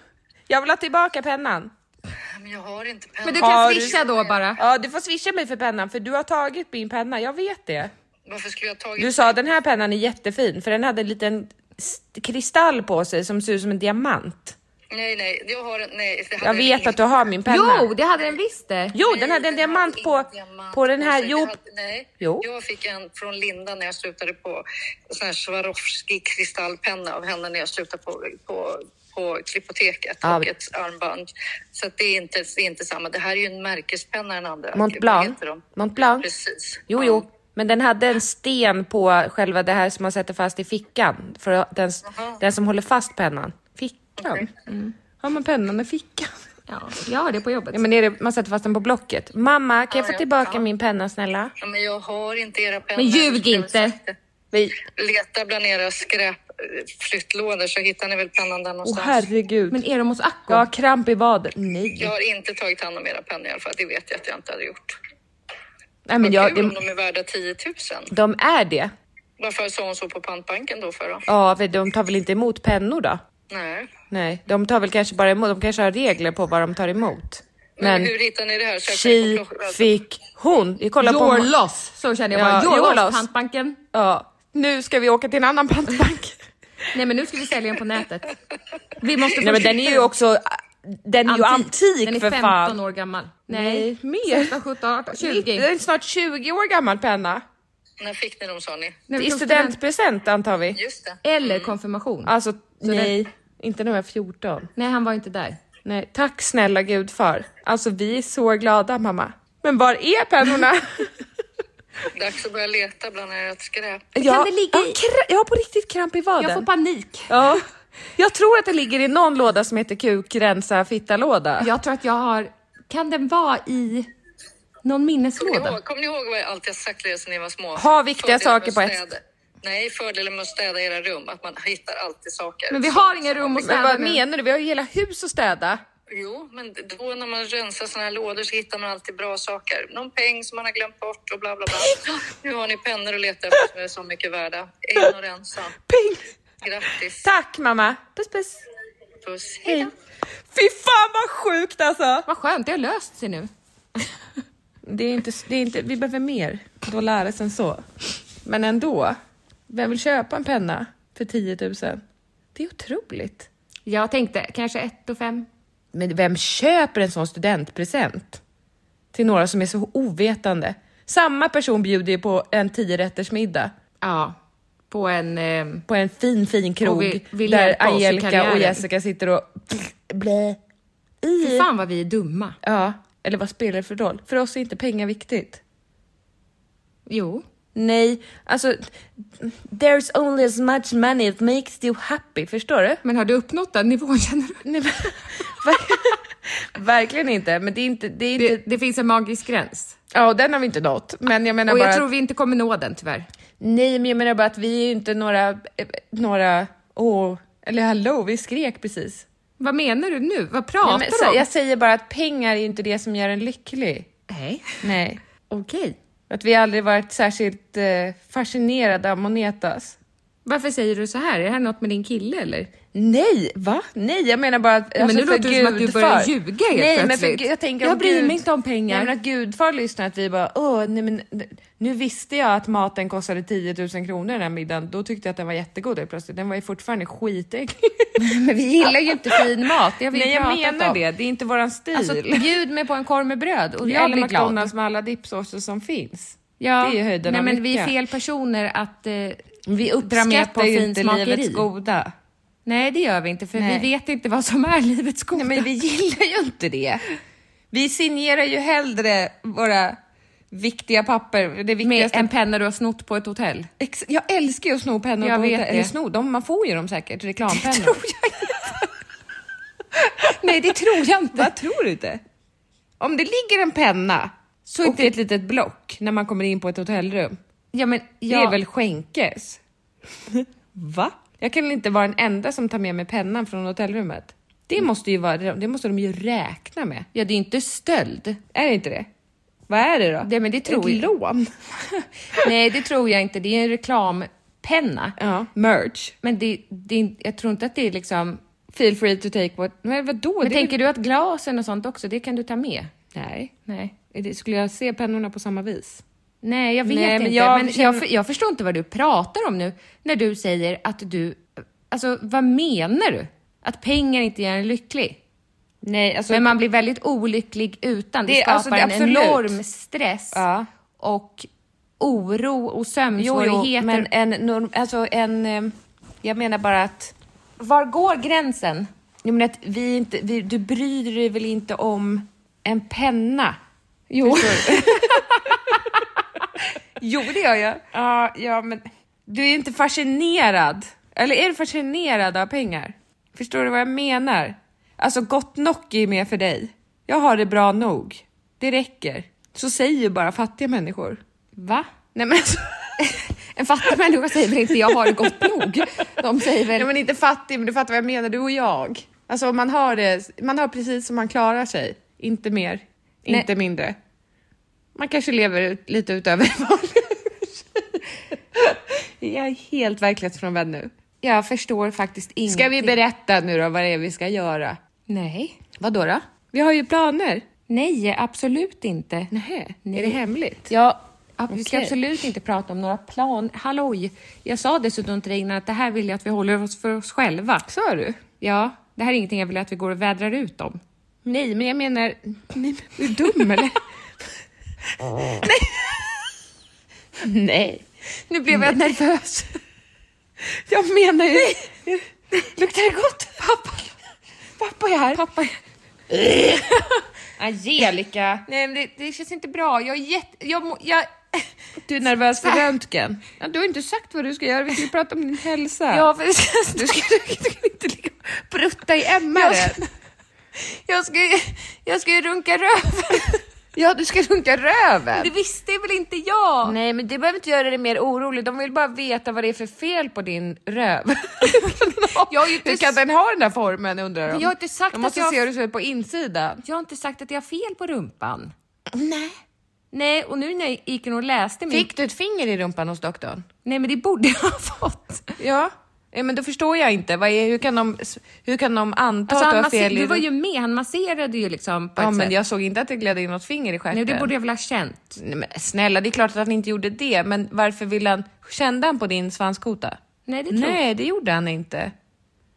[SPEAKER 2] Jag vill ha tillbaka pennan.
[SPEAKER 7] Nej, Men jag har inte penna.
[SPEAKER 3] men du
[SPEAKER 2] Har
[SPEAKER 3] kan
[SPEAKER 2] du-
[SPEAKER 3] swisha då bara.
[SPEAKER 2] Ja, du får swisha mig för pennan för du har tagit min penna, jag vet det.
[SPEAKER 7] Varför skulle jag ha tagit
[SPEAKER 2] Du sa den här pennan är jättefin för den hade en liten st- kristall på sig som ser ut som en diamant.
[SPEAKER 7] Nej, nej, jag har en... Nej, det hade
[SPEAKER 2] Jag vet
[SPEAKER 7] ingen-
[SPEAKER 2] att du har min penna.
[SPEAKER 3] Jo, det hade den visst det.
[SPEAKER 2] Jo,
[SPEAKER 7] Nej,
[SPEAKER 2] den hade en diamant
[SPEAKER 7] ingen
[SPEAKER 2] på,
[SPEAKER 7] diamant
[SPEAKER 2] på den här.
[SPEAKER 7] sig.
[SPEAKER 2] Jo,
[SPEAKER 7] Jag hade- nej,
[SPEAKER 2] Jo.
[SPEAKER 7] jag fick en från Linda när jag slutade på sån här Swarovski kristallpenna av henne när jag slutade på, på, på Klippoteket
[SPEAKER 2] Ja.
[SPEAKER 7] och ett armband. Så att det, är inte, det är inte samma. Det här är ju en märkespenna den andra.
[SPEAKER 2] Mont
[SPEAKER 7] Vad
[SPEAKER 2] Blanc.
[SPEAKER 7] heter de?
[SPEAKER 2] Mont Blanc.
[SPEAKER 7] Precis.
[SPEAKER 2] Jo,
[SPEAKER 7] Ja.
[SPEAKER 2] jo, men den hade en sten på själva det här som man sätter fast i fickan. För att den, s- den som håller fast pennan. Fickan? Mm. Har man pennan i fickan?
[SPEAKER 3] Ja, jag har det på jobbet.
[SPEAKER 2] Ja, men är det, man sätter fast den på blocket. Mamma, kan jag få
[SPEAKER 7] ja,
[SPEAKER 2] tillbaka
[SPEAKER 7] ja.
[SPEAKER 2] min penna snälla?
[SPEAKER 7] Ja, men jag har inte era pennor.
[SPEAKER 3] Men ljug
[SPEAKER 7] Jag skulle
[SPEAKER 3] inte.
[SPEAKER 7] sagt det.
[SPEAKER 2] Vi,
[SPEAKER 7] Leta bland era skräpflyttlådor så hittar ni väl pennan där
[SPEAKER 2] åh
[SPEAKER 7] någonstans.
[SPEAKER 2] herregud.
[SPEAKER 3] Men är de hos Acko?
[SPEAKER 2] jag har kramp i vaden. Nej.
[SPEAKER 7] Jag har inte tagit hand om era pennor i alla fall. Det vet jag att jag inte hade gjort.
[SPEAKER 2] Nej, men
[SPEAKER 7] Jag,
[SPEAKER 2] jag,
[SPEAKER 7] Kul om
[SPEAKER 2] de,
[SPEAKER 7] de är värda 10 000.
[SPEAKER 2] de är det.
[SPEAKER 7] Varför sa hon så på pantbanken då för då?
[SPEAKER 2] Ja, för de tar väl inte emot pennor då?
[SPEAKER 7] Nej.
[SPEAKER 2] Nej, de tar väl kanske bara emot. De kanske har regler på vad de tar emot.
[SPEAKER 7] Men,
[SPEAKER 2] Men
[SPEAKER 7] hur hittar ni det här? Sökte ni
[SPEAKER 2] tji
[SPEAKER 7] på plock- alltså,
[SPEAKER 2] fick hon. Vi kollar på...
[SPEAKER 3] Your loss, så kände jag bara.
[SPEAKER 2] Ja,
[SPEAKER 3] your,
[SPEAKER 2] your
[SPEAKER 3] loss,
[SPEAKER 2] loss.
[SPEAKER 3] pantbanken.
[SPEAKER 2] Ja, nu ska vi åka till en annan pantbank.
[SPEAKER 3] Nej men nu ska vi sälja den på nätet. Vi måste
[SPEAKER 2] Nej men
[SPEAKER 3] först
[SPEAKER 2] den är
[SPEAKER 3] hitta
[SPEAKER 2] ju också, äh, den är ju antik
[SPEAKER 3] Den är
[SPEAKER 2] för
[SPEAKER 3] 15
[SPEAKER 2] fan.
[SPEAKER 3] år gammal.
[SPEAKER 2] Nej,
[SPEAKER 3] Nej,
[SPEAKER 2] mer.
[SPEAKER 3] 16, 17, 18, 20.
[SPEAKER 2] Det är en snart 20 år gammal penna.
[SPEAKER 7] När fick ni dem sa ni?
[SPEAKER 3] Nej,
[SPEAKER 2] I
[SPEAKER 3] men-
[SPEAKER 2] studentpresent antar vi.
[SPEAKER 7] Just det.
[SPEAKER 3] Eller konfirmation.
[SPEAKER 2] Alltså nej, inte när jag är 14.
[SPEAKER 3] Nej han var inte där.
[SPEAKER 2] Nej, tack snälla gud för. Alltså vi är så glada mamma. Men var är pennorna?
[SPEAKER 7] Dags att börja leta bland ert skräp.
[SPEAKER 2] jag,
[SPEAKER 3] det ligga
[SPEAKER 2] jag,
[SPEAKER 3] i-
[SPEAKER 2] kra- jag har på riktigt kramp i vaden.
[SPEAKER 3] Jag får panik.
[SPEAKER 2] ja. jag tror att det ligger i någon låda som heter kuk, rensa, fitta-låda.
[SPEAKER 3] Jag tror att jag har, kan den vara i någon
[SPEAKER 7] Kommer ni
[SPEAKER 3] minneslåda?
[SPEAKER 7] ihåg, kommer ni ihåg vad jag alltid har sagt till er sedan ni var små?
[SPEAKER 2] Ha viktiga
[SPEAKER 7] Fördelen med
[SPEAKER 2] saker på
[SPEAKER 7] att
[SPEAKER 2] ett-
[SPEAKER 7] städa- Nej, fördelen med att städa era rum, att man hittar alltid saker.
[SPEAKER 3] Men vi har inga rum att
[SPEAKER 2] Men
[SPEAKER 3] städa
[SPEAKER 2] vad
[SPEAKER 3] nu.
[SPEAKER 2] menar du? Vi har ju hela hus att städa.
[SPEAKER 7] Jo, men då när man rensar såna här lådor så hittar man alltid bra saker. Någon peng som man har glömt bort och bla bla bla. Nu har ni pennor att leta efter som är så mycket värda. In och rensa.
[SPEAKER 2] Ping!
[SPEAKER 7] Grattis.
[SPEAKER 2] Tack mamma! Puss puss!
[SPEAKER 7] Puss.
[SPEAKER 2] Hej. Fy fan vad sjukt alltså!
[SPEAKER 3] Vad skönt, det har löst sig nu.
[SPEAKER 2] Det är inte, det är inte, vi behöver mer dollares än så. Men ändå, vem vill köpa en penna för 10 000? Det är otroligt.
[SPEAKER 3] Jag tänkte kanske ett och fem.
[SPEAKER 2] Men vem köper en sån studentpresent? Till några som är så ovetande. Samma person bjuder ju på en 10-rätters middag
[SPEAKER 3] Ja, på en... ehm,
[SPEAKER 2] på en fin, fin krog
[SPEAKER 3] Och vi- vill
[SPEAKER 2] där
[SPEAKER 3] hjälpa oss i
[SPEAKER 2] Angelica och
[SPEAKER 3] karriären.
[SPEAKER 2] Jessica sitter och blä
[SPEAKER 3] Fy
[SPEAKER 2] i.
[SPEAKER 3] fan vad vi är dumma.
[SPEAKER 2] Ja, eller vad spelar det för roll? För oss är inte pengar viktigt.
[SPEAKER 3] Jo.
[SPEAKER 2] Nej, alltså there's only as much money that makes you happy, förstår du?
[SPEAKER 3] Men har du uppnått den nivån känner du?
[SPEAKER 2] Nej, men- ver- Verkligen inte, men det är inte... Det är inte
[SPEAKER 3] Det, det finns en magisk gräns.
[SPEAKER 2] Ja, den har vi inte nått, men jag menar
[SPEAKER 3] Och
[SPEAKER 2] bara...
[SPEAKER 3] jag tror
[SPEAKER 2] att,
[SPEAKER 3] vi inte kommer nå den tyvärr.
[SPEAKER 2] nej, men jag menar bara att vi är ju inte några... eh, Några... Åh, eller hallå, vi skrek precis.
[SPEAKER 3] Vad menar du nu? Vad pratar
[SPEAKER 2] Nej, men
[SPEAKER 3] du
[SPEAKER 2] så-
[SPEAKER 3] om?
[SPEAKER 2] jag säger bara att pengar är ju inte det som gör en lycklig.
[SPEAKER 3] Nej.
[SPEAKER 2] Nej.
[SPEAKER 3] Okej.
[SPEAKER 2] Att vi aldrig varit särskilt eh, fascinerade av monetas.
[SPEAKER 3] Varför säger du så här? Är det här något med din kille eller?
[SPEAKER 2] Nej, va? Nej, jag menar bara att... alltså,
[SPEAKER 3] men nu
[SPEAKER 2] för
[SPEAKER 3] låter det som att
[SPEAKER 2] Gud
[SPEAKER 3] du börjar
[SPEAKER 2] för-
[SPEAKER 3] ljuga helt
[SPEAKER 2] Nej, men
[SPEAKER 3] plötsligt.
[SPEAKER 2] för, Gud- jag tänker
[SPEAKER 3] Jag
[SPEAKER 2] om
[SPEAKER 3] bryr
[SPEAKER 2] Gud-
[SPEAKER 3] mig inte om pengar.
[SPEAKER 2] Nej, men att gudfar lyssnar, att vi bara åh, nej men nu visste jag att maten kostade 10 000 kronor den här middagen. Då tyckte jag att den var jättegod helt plötsligt. Den var ju fortfarande skitäcklig.
[SPEAKER 3] Men vi gillar ju inte fin mat, det har vi
[SPEAKER 2] Nej, jag
[SPEAKER 3] pratat
[SPEAKER 2] menar
[SPEAKER 3] om.
[SPEAKER 2] det. Det är inte våran stil.
[SPEAKER 3] Alltså, bjud mig på en korv med bröd och jag
[SPEAKER 2] Eller
[SPEAKER 3] blir glad.
[SPEAKER 2] McDonalds med alla dipsåser som finns.
[SPEAKER 3] Ja.
[SPEAKER 2] Det är ju höjden
[SPEAKER 3] Nej,
[SPEAKER 2] av
[SPEAKER 3] men vi är
[SPEAKER 2] lycka.
[SPEAKER 3] fel personer att eh,
[SPEAKER 2] Vi
[SPEAKER 3] dra med på
[SPEAKER 2] uppskattar ju inte
[SPEAKER 3] finsmakeri.
[SPEAKER 2] livets goda.
[SPEAKER 3] Nej, det gör vi inte, för
[SPEAKER 2] Nej.
[SPEAKER 3] vi vet inte vad som är livets goda.
[SPEAKER 2] Nej, men vi gillar ju inte det. Vi signerar ju hellre våra
[SPEAKER 8] Viktiga papper. Det
[SPEAKER 2] Med
[SPEAKER 8] viktigaste.
[SPEAKER 2] en penna du har snott på ett hotell.
[SPEAKER 8] Ex- jag älskar ju att sno pennor
[SPEAKER 2] Jag
[SPEAKER 8] på
[SPEAKER 2] vet
[SPEAKER 8] hotell.
[SPEAKER 2] det.
[SPEAKER 8] Eller sno, de, man får ju dem säkert, reklampennor.
[SPEAKER 2] tror
[SPEAKER 8] Nej, det tror jag inte.
[SPEAKER 2] Vad tror du inte? Om det ligger en penna så är det ett litet block när man kommer in på ett hotellrum.
[SPEAKER 3] Ja, men
[SPEAKER 2] Det
[SPEAKER 3] jag,
[SPEAKER 2] är väl skänkes? Va? Jag kan inte vara den enda som tar med mig pennan från hotellrummet. Det måste ju vara, det måste de ju räkna med.
[SPEAKER 3] Mm. ja, det är inte stöld.
[SPEAKER 2] Är det inte det? Vad är det då?
[SPEAKER 3] Nej, men det tror
[SPEAKER 2] Ett
[SPEAKER 3] jag.
[SPEAKER 2] lån?
[SPEAKER 3] Nej, det tror jag inte. Det är en reklampenna.
[SPEAKER 2] Ja, merch.
[SPEAKER 3] Men det, det, är- jag tror inte att det är liksom...
[SPEAKER 2] Feel free to take what... Men vadå?
[SPEAKER 3] Men
[SPEAKER 2] Det är
[SPEAKER 3] tänker du att glasen och sånt också, det kan du ta med?
[SPEAKER 2] väl- Nej.
[SPEAKER 3] Nej.
[SPEAKER 2] Är det- Skulle jag se pennorna på samma vis?
[SPEAKER 3] Nej, jag vet
[SPEAKER 2] Nej, men
[SPEAKER 3] inte. Men jag,
[SPEAKER 2] jag känner-
[SPEAKER 3] jag, för- jag förstår inte vad du pratar om nu när du säger att du... Alltså, vad menar du? Att pengar inte gör en lycklig?
[SPEAKER 2] Nej, alltså...
[SPEAKER 3] Men man blir väldigt olycklig utan. Det,
[SPEAKER 2] Det-
[SPEAKER 3] skapar
[SPEAKER 2] alltså, det-
[SPEAKER 3] en
[SPEAKER 2] absolut.
[SPEAKER 3] enorm stress
[SPEAKER 2] Ja.
[SPEAKER 3] och oro och
[SPEAKER 2] jo, jo,
[SPEAKER 3] sömnsvårigheter.
[SPEAKER 2] men en norm... Alltså en... ehm, Jag menar bara att...
[SPEAKER 3] Var går gränsen?
[SPEAKER 2] Jag menar att vi inte... Vi, du bryr dig väl inte om en penna?
[SPEAKER 8] Jo.
[SPEAKER 2] Jo, det gör jag. Ja, ja, men du är inte fascinerad. Eller är du fascinerad av pengar? Förstår du vad jag menar? Alltså, gott nog är mer för dig. Jag har det bra nog. Det räcker. Så säger ju bara fattiga människor.
[SPEAKER 3] Va?
[SPEAKER 2] Nej, men alltså...
[SPEAKER 3] En fattig människa säger väl inte jag har det gott nog? De säger väl...
[SPEAKER 2] Nej, men inte fattig, men du fattar vad jag menar, du och jag. Alltså, om man har det, man har precis som man klarar sig. Inte mer, inte mindre. Man kanske lever ut, lite utöver vad Jag är helt verklighetsfrånvänd nu.
[SPEAKER 3] Jag förstår faktiskt ingenting.
[SPEAKER 2] Ska vi berätta nu då vad det är vi ska göra?
[SPEAKER 3] Nej.
[SPEAKER 2] Vad då? då? Vi har ju planer.
[SPEAKER 3] Nej, absolut inte.
[SPEAKER 2] Nähä,
[SPEAKER 3] Nej.
[SPEAKER 2] är det hemligt?
[SPEAKER 3] Ja, ja, vi ska
[SPEAKER 2] Okej.
[SPEAKER 3] absolut inte prata om några plan. Halloj! Jag sa dessutom till dig innan att det här vill jag att vi håller oss för oss själva.
[SPEAKER 2] Sa du?
[SPEAKER 3] Ja, det här är ingenting jag vill att vi går och vädrar ut om.
[SPEAKER 2] Nej, men jag menar... Nej, men är du dum eller? Nej. Nej. Nu blev jag nervös. Jag menar ju... Luktar det gott? Pappa. Pappa är här. Pappa
[SPEAKER 3] Angelica! Nej, men det, det känns inte bra. Jag är jätte... Jag, må- jag...
[SPEAKER 2] Du är nervös för röntgen. Ja, du har inte sagt vad du ska göra. Vi ska ju prata om din hälsa.
[SPEAKER 3] Ja, för...
[SPEAKER 2] Du ska, du ska inte ligga och prutta i MR.
[SPEAKER 3] Jag ska- jag, ska, ju- jag ska ju runka röven.
[SPEAKER 2] Ja, du ska runka röven.
[SPEAKER 3] Det visste väl inte jag?
[SPEAKER 2] Nej, men det behöver inte göra dig mer orolig. De vill bara veta vad det är för fel på din röv.
[SPEAKER 3] Jag har ju inte
[SPEAKER 2] Hur kan
[SPEAKER 3] s-
[SPEAKER 2] den ha den där formen undrar de?
[SPEAKER 3] Men jag har inte sagt
[SPEAKER 2] de måste
[SPEAKER 3] att jag-
[SPEAKER 2] se hur det ser ut på insidan.
[SPEAKER 3] Jag har inte sagt att jag har fel på rumpan. Nej. Nej, och nu när jag gick in och läste min...
[SPEAKER 2] Fick du ett finger i rumpan hos doktorn?
[SPEAKER 3] Nej, men det borde jag ha fått. Alltså,
[SPEAKER 2] Ja. Eh, Men då förstår jag inte. Vad är, hur, kan de, hur kan de
[SPEAKER 3] Alltså,
[SPEAKER 2] anta att du
[SPEAKER 3] han
[SPEAKER 2] har
[SPEAKER 3] masser...
[SPEAKER 2] fel i
[SPEAKER 3] Du var ju
[SPEAKER 2] rumpan?
[SPEAKER 3] med, han masserade ju liksom på
[SPEAKER 2] Ja,
[SPEAKER 3] ett
[SPEAKER 2] men
[SPEAKER 3] sätt.
[SPEAKER 2] jag såg inte att det gled in något finger i stjärten.
[SPEAKER 3] Nej, det borde jag väl ha känt.
[SPEAKER 2] Nej, men snälla, det är klart att han inte gjorde det. Men varför ville han... Kände han på din svanskota?
[SPEAKER 3] Nej, det tror jag.
[SPEAKER 2] Nej, det gjorde han inte.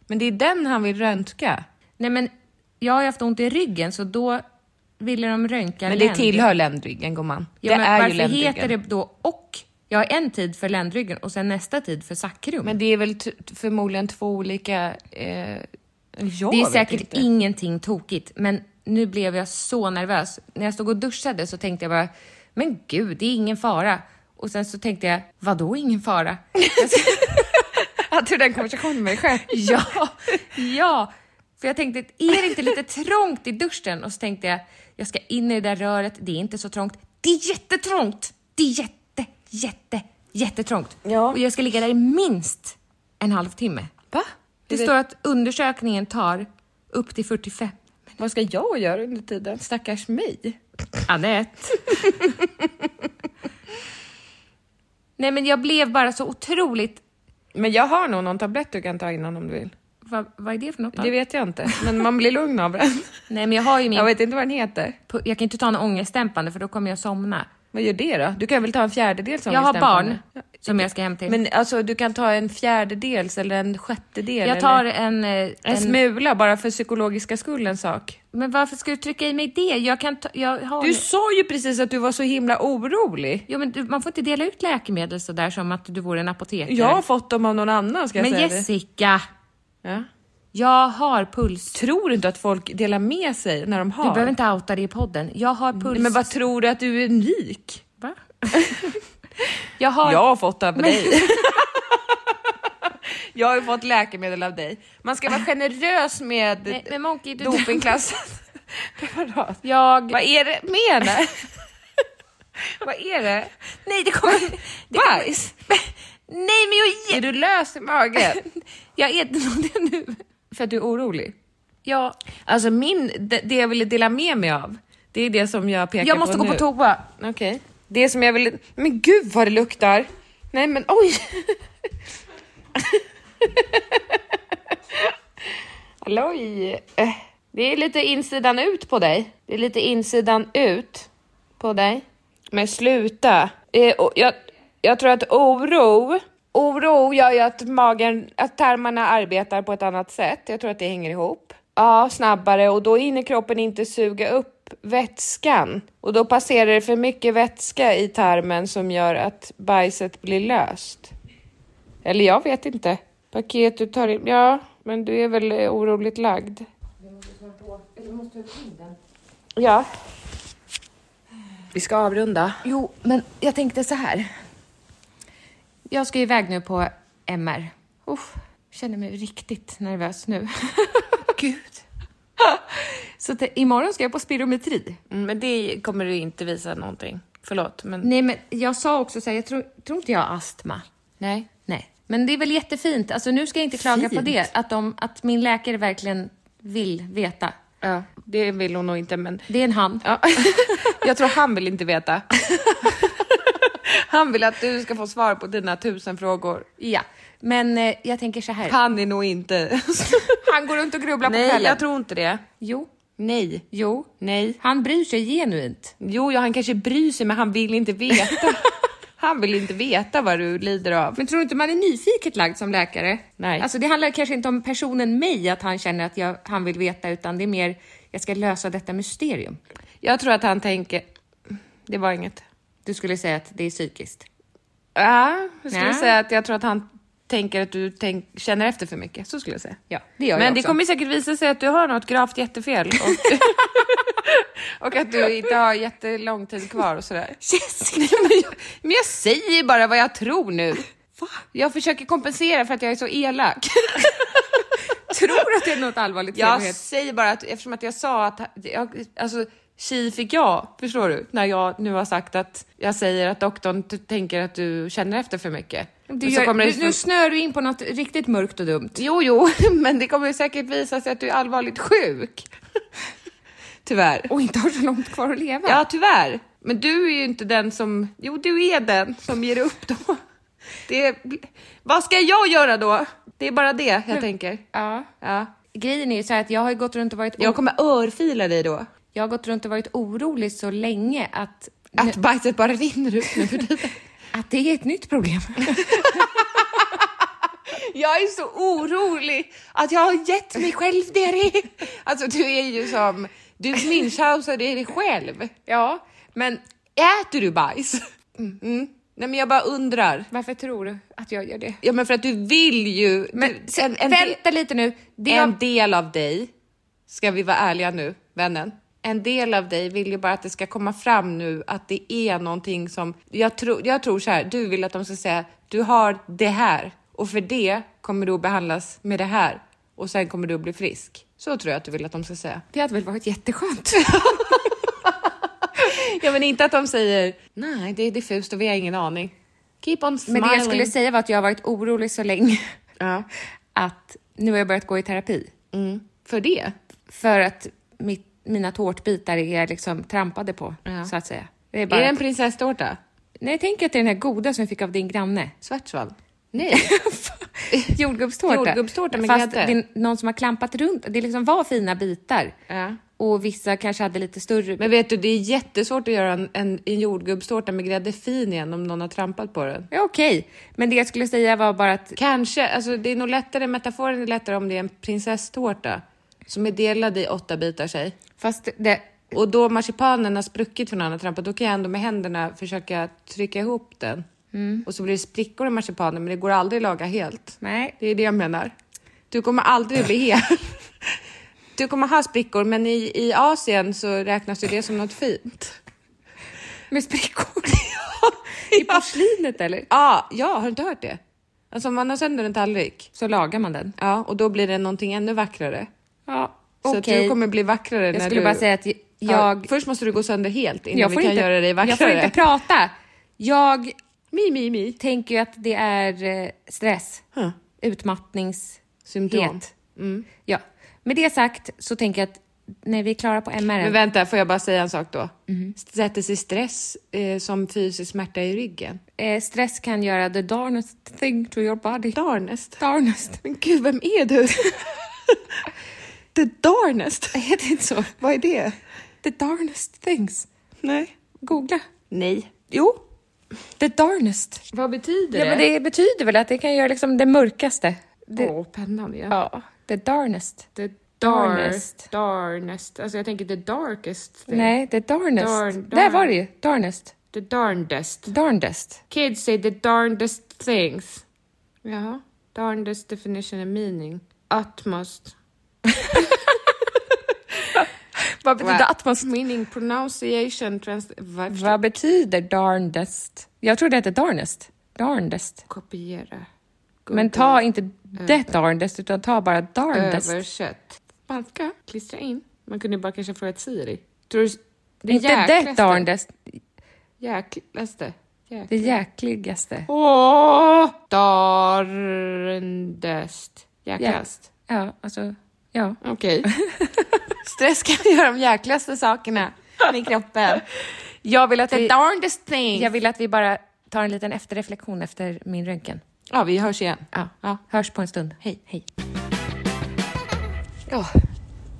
[SPEAKER 2] Men det är den han vill röntga.
[SPEAKER 3] Nej, men jag har ju haft ont i ryggen så då ville de röntga
[SPEAKER 2] Men det
[SPEAKER 3] länd.
[SPEAKER 2] tillhör ländryggen gumman.
[SPEAKER 3] Ja,
[SPEAKER 2] det
[SPEAKER 3] men
[SPEAKER 2] är ju
[SPEAKER 3] varför
[SPEAKER 2] ländryggen.
[SPEAKER 3] heter det då och? Jag har en tid för ländryggen och sen nästa tid för sacrum.
[SPEAKER 2] Men det är väl t- t- förmodligen två olika... Eh, jag
[SPEAKER 3] det är
[SPEAKER 2] vet
[SPEAKER 3] säkert
[SPEAKER 2] inte.
[SPEAKER 3] ingenting tokigt, men nu blev jag så nervös. När jag stod och duschade så tänkte jag bara, men gud, det är ingen fara. Och sen så tänkte jag, vadå ingen fara?
[SPEAKER 2] Hade du den konversationen med dig själv?
[SPEAKER 3] ja, ja. För jag tänkte, är det inte lite trångt i duschen? Och så tänkte jag, jag ska in i det där röret, det är inte så trångt. Det är jättetrångt! Det är jätte, jätte, jättetrångt. Ja. Och jag ska ligga där i minst en halvtimme.
[SPEAKER 2] Va?
[SPEAKER 3] Det står att undersökningen tar upp till 45
[SPEAKER 2] Vad ska jag göra under tiden? Stackars mig.
[SPEAKER 3] Anette. Nej men jag blev bara så otroligt...
[SPEAKER 2] Men jag har nog någon tablett du kan ta innan om du vill.
[SPEAKER 3] Vad, vad är det för något? då?
[SPEAKER 2] Det vet jag inte, men man blir lugn av den.
[SPEAKER 3] Nej men jag har ju min...
[SPEAKER 2] Jag
[SPEAKER 3] Jag,
[SPEAKER 2] vet inte vad den heter.
[SPEAKER 3] jag kan inte ta en ångestdämpande för då kommer jag somna.
[SPEAKER 2] Vad gör det då? Du kan väl ta en fjärdedel som
[SPEAKER 3] Jag har barn
[SPEAKER 2] ångestdämpande?
[SPEAKER 3] som jag ska hem till.
[SPEAKER 2] Men alltså, du kan ta en fjärdedels eller en sjättedel.
[SPEAKER 3] jag tar
[SPEAKER 2] eller...
[SPEAKER 3] en... eh,
[SPEAKER 2] en
[SPEAKER 3] en
[SPEAKER 2] smula bara för psykologiska skull en sak.
[SPEAKER 3] men varför ska du trycka i mig det? Jag kan ta... Jag har...
[SPEAKER 2] Du sa ju precis att du var så himla orolig.
[SPEAKER 3] Jo men du, man får inte dela ut läkemedel sådär som att du vore en apotekare.
[SPEAKER 2] Jag har fått dem av någon annan ska jag
[SPEAKER 3] men
[SPEAKER 2] säga
[SPEAKER 3] Jessica!
[SPEAKER 2] det. Ja.
[SPEAKER 3] Jag har puls.
[SPEAKER 2] Tror du inte att folk delar med sig när de har?
[SPEAKER 3] Du behöver inte outa det i podden. Jag har puls.
[SPEAKER 2] Men vad tror du att du är unik?
[SPEAKER 3] Mm. Va? jag har...
[SPEAKER 2] Jag har fått av
[SPEAKER 3] Men-
[SPEAKER 2] dig. Jag har ju fått läkemedel av dig. Man ska vara generös med
[SPEAKER 3] Nej, men Monkey, du...
[SPEAKER 2] dopingklassat preparat.
[SPEAKER 3] Jag...
[SPEAKER 2] Vad är det menar? Vad är det?
[SPEAKER 3] Nej, det kommer... Det
[SPEAKER 2] Bajs?
[SPEAKER 3] Nej, men jag...
[SPEAKER 2] Är du lös i magen?
[SPEAKER 3] Jag är inte det nu.
[SPEAKER 2] För att du är orolig?
[SPEAKER 3] Jag,
[SPEAKER 2] Alltså min, det, det jag ville dela med mig av, det är det som jag pekar på
[SPEAKER 3] jag måste gå
[SPEAKER 2] nu.
[SPEAKER 3] på toa.
[SPEAKER 2] Okej. Det som jag ville... Men gud vad det luktar! Nej men oj! Halloj! Eh, Det är lite insidan ut på dig. Det är lite insidan ut på dig. Men sluta! Eh, och Jag, jag tror att oro, oro gör ju att magen, att tarmarna arbetar på ett annat sätt. Jag tror att det hänger ihop. Ja, snabbare och då hinner kroppen inte suga upp vätskan och då passerar det för mycket vätska i tarmen som gör att bajset blir löst. Eller jag vet inte. Paket du tar in, ja, men du är väl eh, oroligt lagd? Ja. Vi ska avrunda.
[SPEAKER 3] Jo, men jag tänkte så här. Jag ska ju iväg nu på MR. Uff, känner mig riktigt nervös nu. Gud. Så te- imorgon ska jag på spirometri.
[SPEAKER 2] Mm, Men det kommer du inte visa någonting. Förlåt, men...
[SPEAKER 3] Nej, men jag sa också så här, jag tror, tror inte jag har astma.
[SPEAKER 2] Nej.
[SPEAKER 3] Nej, men det är väl jättefint. Alltså nu ska jag inte klaga på
[SPEAKER 2] Fint.
[SPEAKER 3] det, att, de, att min läkare verkligen vill veta.
[SPEAKER 2] Ja, det vill hon nog inte, men...
[SPEAKER 3] Det är en han.
[SPEAKER 2] Ja. Jag tror han vill inte veta. Han vill att du ska få svar på dina tusen frågor.
[SPEAKER 3] Ja, men eh, jag tänker så här.
[SPEAKER 2] Han är nog inte...
[SPEAKER 3] Han går runt och grubblar på
[SPEAKER 2] Nej,
[SPEAKER 3] kvällen.
[SPEAKER 2] jag tror inte det.
[SPEAKER 3] Jo,
[SPEAKER 2] Nej.
[SPEAKER 3] jo.
[SPEAKER 2] Nej.
[SPEAKER 3] Han bryr sig genuint.
[SPEAKER 2] Jo, ja, han kanske bryr sig, men han vill inte veta. Han vill inte veta vad du lider av.
[SPEAKER 3] Men tror du inte man är nyfiket lagd som läkare?
[SPEAKER 2] Nej.
[SPEAKER 3] Alltså det handlar kanske inte om personen mig, att han känner att jag, han vill veta, utan det är mer, jag ska lösa detta mysterium.
[SPEAKER 2] Jag tror att han tänker... Det var inget.
[SPEAKER 3] Du skulle säga att det är psykiskt.
[SPEAKER 2] Ja, jag skulle
[SPEAKER 3] Nej.
[SPEAKER 2] säga att jag tror att han tänker att du tänk, känner efter för mycket. Så skulle jag säga.
[SPEAKER 3] Ja, det gör
[SPEAKER 2] Men
[SPEAKER 3] jag
[SPEAKER 2] det
[SPEAKER 3] också.
[SPEAKER 2] kommer säkert visa sig att du har något gravt jättefel och, och att du inte har jättelång tid kvar och sådär. Jessica! men, jag, men jag säger bara vad jag tror nu. Jag försöker kompensera för att jag är så elak.
[SPEAKER 3] Tror att det är något allvarligt fel
[SPEAKER 2] Jag
[SPEAKER 3] med-
[SPEAKER 2] säger bara att eftersom att jag sa att jag, alltså, tji fick jag, förstår du? När jag nu har sagt att jag säger att doktorn t- tänker att du känner efter för mycket.
[SPEAKER 3] Du
[SPEAKER 2] Och så
[SPEAKER 3] gör,
[SPEAKER 2] kommer
[SPEAKER 3] nu, nu snör du in på något riktigt mörkt och dumt.
[SPEAKER 2] Jo, jo, men det kommer ju säkert visa sig att du är allvarligt sjuk. Tyvärr.
[SPEAKER 3] Och inte har så långt kvar att leva.
[SPEAKER 2] Ja, tyvärr. Men du är ju inte den som... Jo, du är den som ger upp då. Det är... Vad ska jag göra då? Det är bara det jag tänker.
[SPEAKER 3] Ja.
[SPEAKER 2] Ja.
[SPEAKER 3] Grejen är ju så här att jag har ju gått runt och varit,
[SPEAKER 2] Jag kommer örfila dig då.
[SPEAKER 3] jag har gått runt och varit orolig så länge att,
[SPEAKER 2] Att bajset bara rinner ut nu för tiden.
[SPEAKER 3] att det är ett nytt problem.
[SPEAKER 2] Jag är så orolig att jag har gett mig själv diarré. Alltså du är ju som, du Munchhausen är dig själv. Ja, men äter du bajs? Mm. Nej men jag bara undrar.
[SPEAKER 3] Varför tror du att jag gör det?
[SPEAKER 2] Ja men för att du vill ju.
[SPEAKER 3] Men
[SPEAKER 2] du,
[SPEAKER 3] sen, vänta lite nu. Det
[SPEAKER 2] en
[SPEAKER 3] jag,
[SPEAKER 2] del av dig, ska vi vara ärliga nu vännen, en del av dig vill ju bara att det ska komma fram nu att det är någonting som, jag, tro, jag tror så här, du vill att de ska säga du har det här och för det kommer du att behandlas med det här och sen kommer du att bli frisk. Så tror jag att du vill att de ska säga.
[SPEAKER 3] det hade väl varit jätteskönt?
[SPEAKER 2] Ja men inte att de säger nej det är diffust och vi har ingen aning. Keep on smiling.
[SPEAKER 3] Men det jag skulle säga var att jag har varit orolig så länge
[SPEAKER 2] Ja.
[SPEAKER 3] att nu har jag börjat gå i terapi.
[SPEAKER 2] Mm. För det?
[SPEAKER 3] För att mitt, mina tårtbitar är liksom trampade på,
[SPEAKER 2] Ja.
[SPEAKER 3] så att säga. Det är
[SPEAKER 2] Är
[SPEAKER 3] bara
[SPEAKER 2] det
[SPEAKER 3] att-
[SPEAKER 2] en prinsesstårta?
[SPEAKER 3] Nej, tänk att det är den här goda som vi fick av din granne.
[SPEAKER 2] Schwarzwald? Nej.
[SPEAKER 3] Jordgubbstårta.
[SPEAKER 2] Jordgubbstårta med
[SPEAKER 3] Fast
[SPEAKER 2] grädde.
[SPEAKER 3] det är någon som har klampat runt. Det liksom var fina bitar.
[SPEAKER 2] Ja.
[SPEAKER 3] Och vissa kanske hade lite större.
[SPEAKER 2] Men vet du, det är jättesvårt att göra en, en, en jordgubbstårta med grädde fin igen om någon har trampat på den.
[SPEAKER 3] Ja, okej. Men det jag skulle säga var bara att...
[SPEAKER 2] Kanske, alltså det är nog lättare, metaforen är lättare om det är en prinsesstårta som är delad i åtta bitar sig.
[SPEAKER 3] Fast det...
[SPEAKER 2] Och då marsipanen har spruckit från annan trampat, då kan jag ändå med händerna försöka trycka ihop Mm. den. Och så blir det sprickor i marsipanen, men det går aldrig att laga helt.
[SPEAKER 3] Nej.
[SPEAKER 2] Det är det jag menar. Du kommer aldrig bli hel. Du kommer ha sprickor, men i, i Asien så räknas ju det som något fint.
[SPEAKER 8] Med sprickor.
[SPEAKER 2] I porslinet eller? Ja, ja, har du inte hört det? Alltså om man har sönder en tallrik,
[SPEAKER 8] Så lagar man den.
[SPEAKER 2] ja, och då blir det någonting ännu vackrare.
[SPEAKER 8] Ja,
[SPEAKER 2] Så att du kommer bli vackrare när
[SPEAKER 8] Jag skulle
[SPEAKER 2] du...
[SPEAKER 8] bara säga att jag...
[SPEAKER 2] Ja, först måste du gå sönder helt innan
[SPEAKER 8] jag
[SPEAKER 2] vi
[SPEAKER 8] får
[SPEAKER 2] kan
[SPEAKER 8] inte,
[SPEAKER 2] göra dig
[SPEAKER 8] jag får
[SPEAKER 2] vackrare.
[SPEAKER 8] inte prata. Jag
[SPEAKER 2] Mi, mi, mi.
[SPEAKER 8] tänker ju att det är eh, stress,
[SPEAKER 2] Huh. Symptom.
[SPEAKER 8] utmattningshet.
[SPEAKER 2] Mm.
[SPEAKER 8] Ja. Med det sagt så tänker jag att när vi är klara på MR,
[SPEAKER 2] Men vänta, får jag bara säga en sak då?
[SPEAKER 8] Mhm.
[SPEAKER 2] Sätter sig stress eh, som fysisk smärta i ryggen?
[SPEAKER 8] eh, stress kan göra the darnest thing to your body.
[SPEAKER 2] Darnest.
[SPEAKER 8] Darnest.
[SPEAKER 2] Men gud, vem är du? The darnest.
[SPEAKER 8] Är det inte så?
[SPEAKER 2] Vad är det?
[SPEAKER 8] The darnest things.
[SPEAKER 2] Nej.
[SPEAKER 8] Googla.
[SPEAKER 2] Nej.
[SPEAKER 8] Jo. The darnest.
[SPEAKER 2] Vad betyder
[SPEAKER 8] Ja, men det betyder väl att det kan göra liksom det mörkaste.
[SPEAKER 2] Åh,
[SPEAKER 8] Det,
[SPEAKER 2] pennan ja.
[SPEAKER 8] Ja, the darnest.
[SPEAKER 2] The dark,
[SPEAKER 8] Darnest.
[SPEAKER 2] darnest. darnest. Alltså jag tänker the darkest thing.
[SPEAKER 8] Nej, the darnest.
[SPEAKER 2] Darn-
[SPEAKER 8] Där
[SPEAKER 2] darn.
[SPEAKER 8] var det ju. Darnest.
[SPEAKER 2] The darndest.
[SPEAKER 8] Darndest.
[SPEAKER 2] Kids say the darndest things. Jaha. Darndest definition and meaning. Utmost.
[SPEAKER 8] Vad betyder atmos?
[SPEAKER 2] Meaning pronunciation trans... Vad
[SPEAKER 8] Vad betyder darndest? Jag trodde det hette darnest. Darndest.
[SPEAKER 2] Kopiera.
[SPEAKER 8] Men ta inte det darndest, utan ta bara darndest.
[SPEAKER 2] Översätt. Spanska. Klistra in. Man kunde ju bara kanske fråga Siri. Tror du... s- Det
[SPEAKER 8] Inte det
[SPEAKER 2] jäklaste-
[SPEAKER 8] darndest,
[SPEAKER 2] Jäklaste. Jäk-
[SPEAKER 8] det jäkligaste.
[SPEAKER 2] Åh! Darndest. Jäklast.
[SPEAKER 8] Ja, alltså, ja.
[SPEAKER 2] Okej. Stress kan göra de jäklaste sakerna med kroppen.
[SPEAKER 8] Jag vill, att
[SPEAKER 2] The
[SPEAKER 8] vi,
[SPEAKER 2] darndest thing.
[SPEAKER 8] jag vill att vi bara tar en liten efterreflektion efter min röntgen.
[SPEAKER 2] Ja, vi hörs igen.
[SPEAKER 8] Ja.
[SPEAKER 2] Ja.
[SPEAKER 8] Hörs på en stund. Hej. Hej.
[SPEAKER 3] Ja.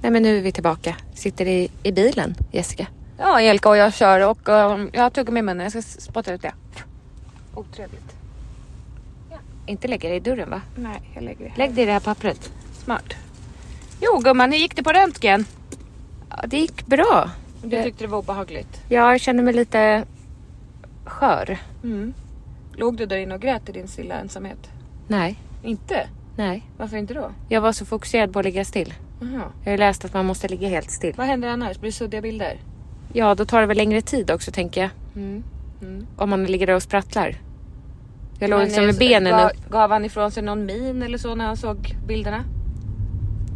[SPEAKER 3] Nej, men nu är vi tillbaka. Sitter i, i bilen, Jessica. Ja, Elka och jag kör och um, jag har tuggummi i munnen. Jag ska s- spotta ut det. Otrevligt. Inte lägga det i dörren, va?
[SPEAKER 8] Nej, jag lägger det.
[SPEAKER 3] Lägg det i det här pappret.
[SPEAKER 8] Smart.
[SPEAKER 3] Jo, gumman, hur gick det på röntgen? Ja, det gick bra.
[SPEAKER 8] Du tyckte det var obehagligt.
[SPEAKER 3] Jag känner mig lite skör. Mm.
[SPEAKER 8] Låg du där inne och grät i din stilla ensamhet?
[SPEAKER 3] Nej,
[SPEAKER 8] Inte?
[SPEAKER 3] nej.
[SPEAKER 8] Varför inte då?
[SPEAKER 3] Jag var så fokuserad på att ligga still.
[SPEAKER 8] Jaha.
[SPEAKER 3] Jag har ju läst att man måste ligga helt still.
[SPEAKER 8] Vad händer annars? Blir det suddiga bilder?
[SPEAKER 3] Ja, då tar det väl längre tid också, tänker jag.
[SPEAKER 8] Mm.
[SPEAKER 3] Om man ligger där och sprattlar. Jag låg
[SPEAKER 8] Men,
[SPEAKER 3] liksom
[SPEAKER 8] eh,
[SPEAKER 3] med
[SPEAKER 8] så-
[SPEAKER 3] benen
[SPEAKER 8] gav,
[SPEAKER 3] upp.
[SPEAKER 8] gav han ifrån sig någon min eller så när han såg bilderna?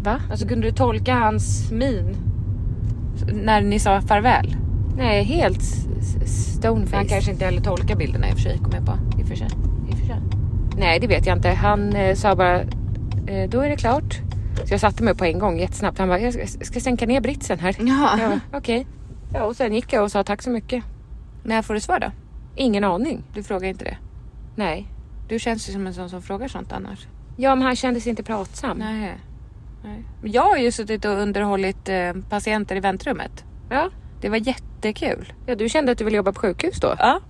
[SPEAKER 3] Va?
[SPEAKER 8] Alltså kunde du tolka hans min? När ni sa farväl?
[SPEAKER 3] Nej, helt s- s- stoneface.
[SPEAKER 8] Han kanske inte heller tolkar bilderna i och för sig, kom jag på. I och för sig. I och för sig.
[SPEAKER 3] Nej, det vet jag inte. Han eh, sa bara, eh, då är det klart. Så jag satte mig på en gång jättesnabbt. Han bara, jag ska, ska sänka ner britsen här.
[SPEAKER 8] Ja.
[SPEAKER 3] Jag bara, Okej. Ja, och sen gick jag och sa tack så mycket.
[SPEAKER 8] När får du svar då?
[SPEAKER 3] Ingen aning.
[SPEAKER 8] Du frågar inte det?
[SPEAKER 3] Nej.
[SPEAKER 8] Du känns ju som en sån som frågar sånt annars.
[SPEAKER 3] Ja, men han kändes inte pratsam.
[SPEAKER 8] Nej. Nej. Men Jag har ju suttit och underhållit eh, patienter i väntrummet.
[SPEAKER 3] Ja.
[SPEAKER 8] Det var jättekul.
[SPEAKER 3] ja, du kände att du ville jobba på sjukhus då?
[SPEAKER 8] Ja.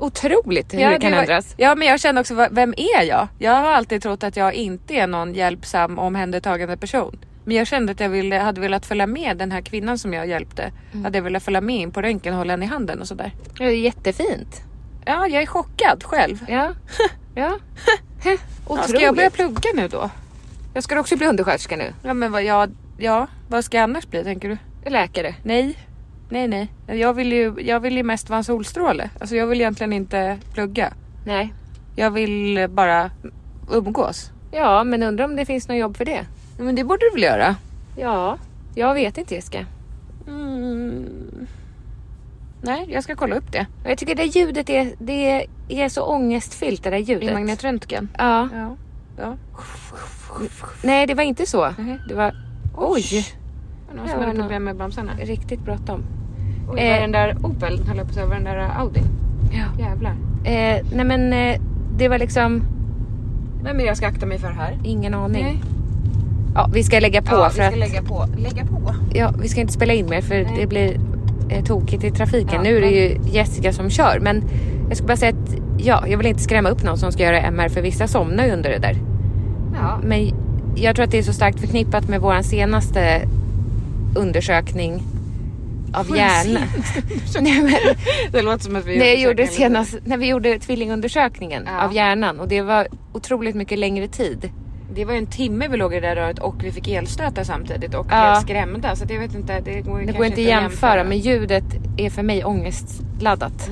[SPEAKER 3] Otroligt hur det kan
[SPEAKER 8] var,
[SPEAKER 3] ändras.
[SPEAKER 8] Ja, men jag kände också, vad- vem är jag? Jag har alltid trott att jag inte är någon hjälpsam omhändertagande person. Men jag kände att jag ville, hade velat följa med den här kvinnan som jag hjälpte.
[SPEAKER 3] Mm.
[SPEAKER 8] Hade jag velat följa med in på röntgen och hålla henne i handen och sådär.
[SPEAKER 3] Ja, det är jättefint.
[SPEAKER 8] Ja, jag är chockad själv.
[SPEAKER 3] Ja. ja.
[SPEAKER 8] Ja,
[SPEAKER 3] Otroligt.
[SPEAKER 8] ska jag börja plugga nu då?
[SPEAKER 3] Jag ska också bli undersköterska nu.
[SPEAKER 8] Ja, men vad, ja, ja, vad ska jag annars bli tänker du?
[SPEAKER 3] Läkare.
[SPEAKER 8] Nej, nej, nej. Jag vill ju, jag vill ju mest vara en solstråle. Alltså jag vill egentligen inte plugga.
[SPEAKER 3] Nej.
[SPEAKER 8] Jag vill bara umgås.
[SPEAKER 3] Ja, men undrar om det finns något jobb för det.
[SPEAKER 8] Ja, Men det borde du väl göra?
[SPEAKER 3] Ja, jag vet inte Jessica.
[SPEAKER 8] Mm. Nej, jag ska kolla upp det.
[SPEAKER 3] Och Jag tycker det ljudet är, det är så ångestfyllt det där
[SPEAKER 8] I
[SPEAKER 3] ljudet.
[SPEAKER 8] magnetröntgen.
[SPEAKER 3] ja.
[SPEAKER 8] Ja. ja. Mhm.
[SPEAKER 3] Nej, det var inte så.
[SPEAKER 8] Nej.
[SPEAKER 3] Det var... Oj!
[SPEAKER 8] Nu har
[SPEAKER 3] Ja,
[SPEAKER 8] jag
[SPEAKER 3] nå-
[SPEAKER 8] problem med bromsarna.
[SPEAKER 3] Riktigt bråttom.
[SPEAKER 8] Oj,
[SPEAKER 3] Eh.
[SPEAKER 8] var den där Opel, höll jag på att säga, var den där Audi.
[SPEAKER 3] Ja.
[SPEAKER 8] Jävlar.
[SPEAKER 3] Eh, nej men eh, det var liksom...
[SPEAKER 8] Vem är det jag ska akta mig för här?
[SPEAKER 3] Ingen aning.
[SPEAKER 8] Nej.
[SPEAKER 3] Ja, vi ska lägga på
[SPEAKER 8] Ja, vi
[SPEAKER 3] för
[SPEAKER 8] ska
[SPEAKER 3] att...
[SPEAKER 8] lägga på. Lägga på?
[SPEAKER 3] Ja, vi ska inte spela in mer för det blir eh, tokigt i trafiken. nu är det ju Jessica som kör men jag skulle bara säga att ja, jag vill inte skrämma upp någon som ska göra MR för vissa somnar ju under det där.
[SPEAKER 8] Ja.
[SPEAKER 3] Men jag tror att det är så starkt förknippat med vår senaste undersökning av hjärnan. Nej, men,
[SPEAKER 8] Det låter som att vi
[SPEAKER 3] när, jag
[SPEAKER 8] försök
[SPEAKER 3] gjorde
[SPEAKER 8] hela
[SPEAKER 3] senast, när vi gjorde tvillingundersökningen
[SPEAKER 8] Ja.
[SPEAKER 3] av hjärnan och det var otroligt mycket längre tid.
[SPEAKER 2] Det var ju en timme vi låg i det där röret och vi fick elstötar samtidigt och
[SPEAKER 8] Ja.
[SPEAKER 2] blev skrämda. Så att jag vet inte, det går ju
[SPEAKER 8] Det
[SPEAKER 2] kanske
[SPEAKER 8] går inte att jämföra, men ljudet är för mig ångestladdat.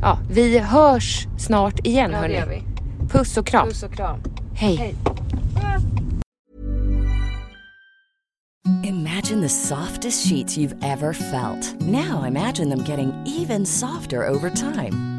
[SPEAKER 8] Ja, vi hörs snart igen
[SPEAKER 2] Ja, det gör
[SPEAKER 8] hörni.
[SPEAKER 2] vi.
[SPEAKER 8] Puss och kram.
[SPEAKER 2] Puss och kram.
[SPEAKER 8] Hej.
[SPEAKER 3] Imagine the softest sheets you've ever felt. Now imagine them getting even softer over time.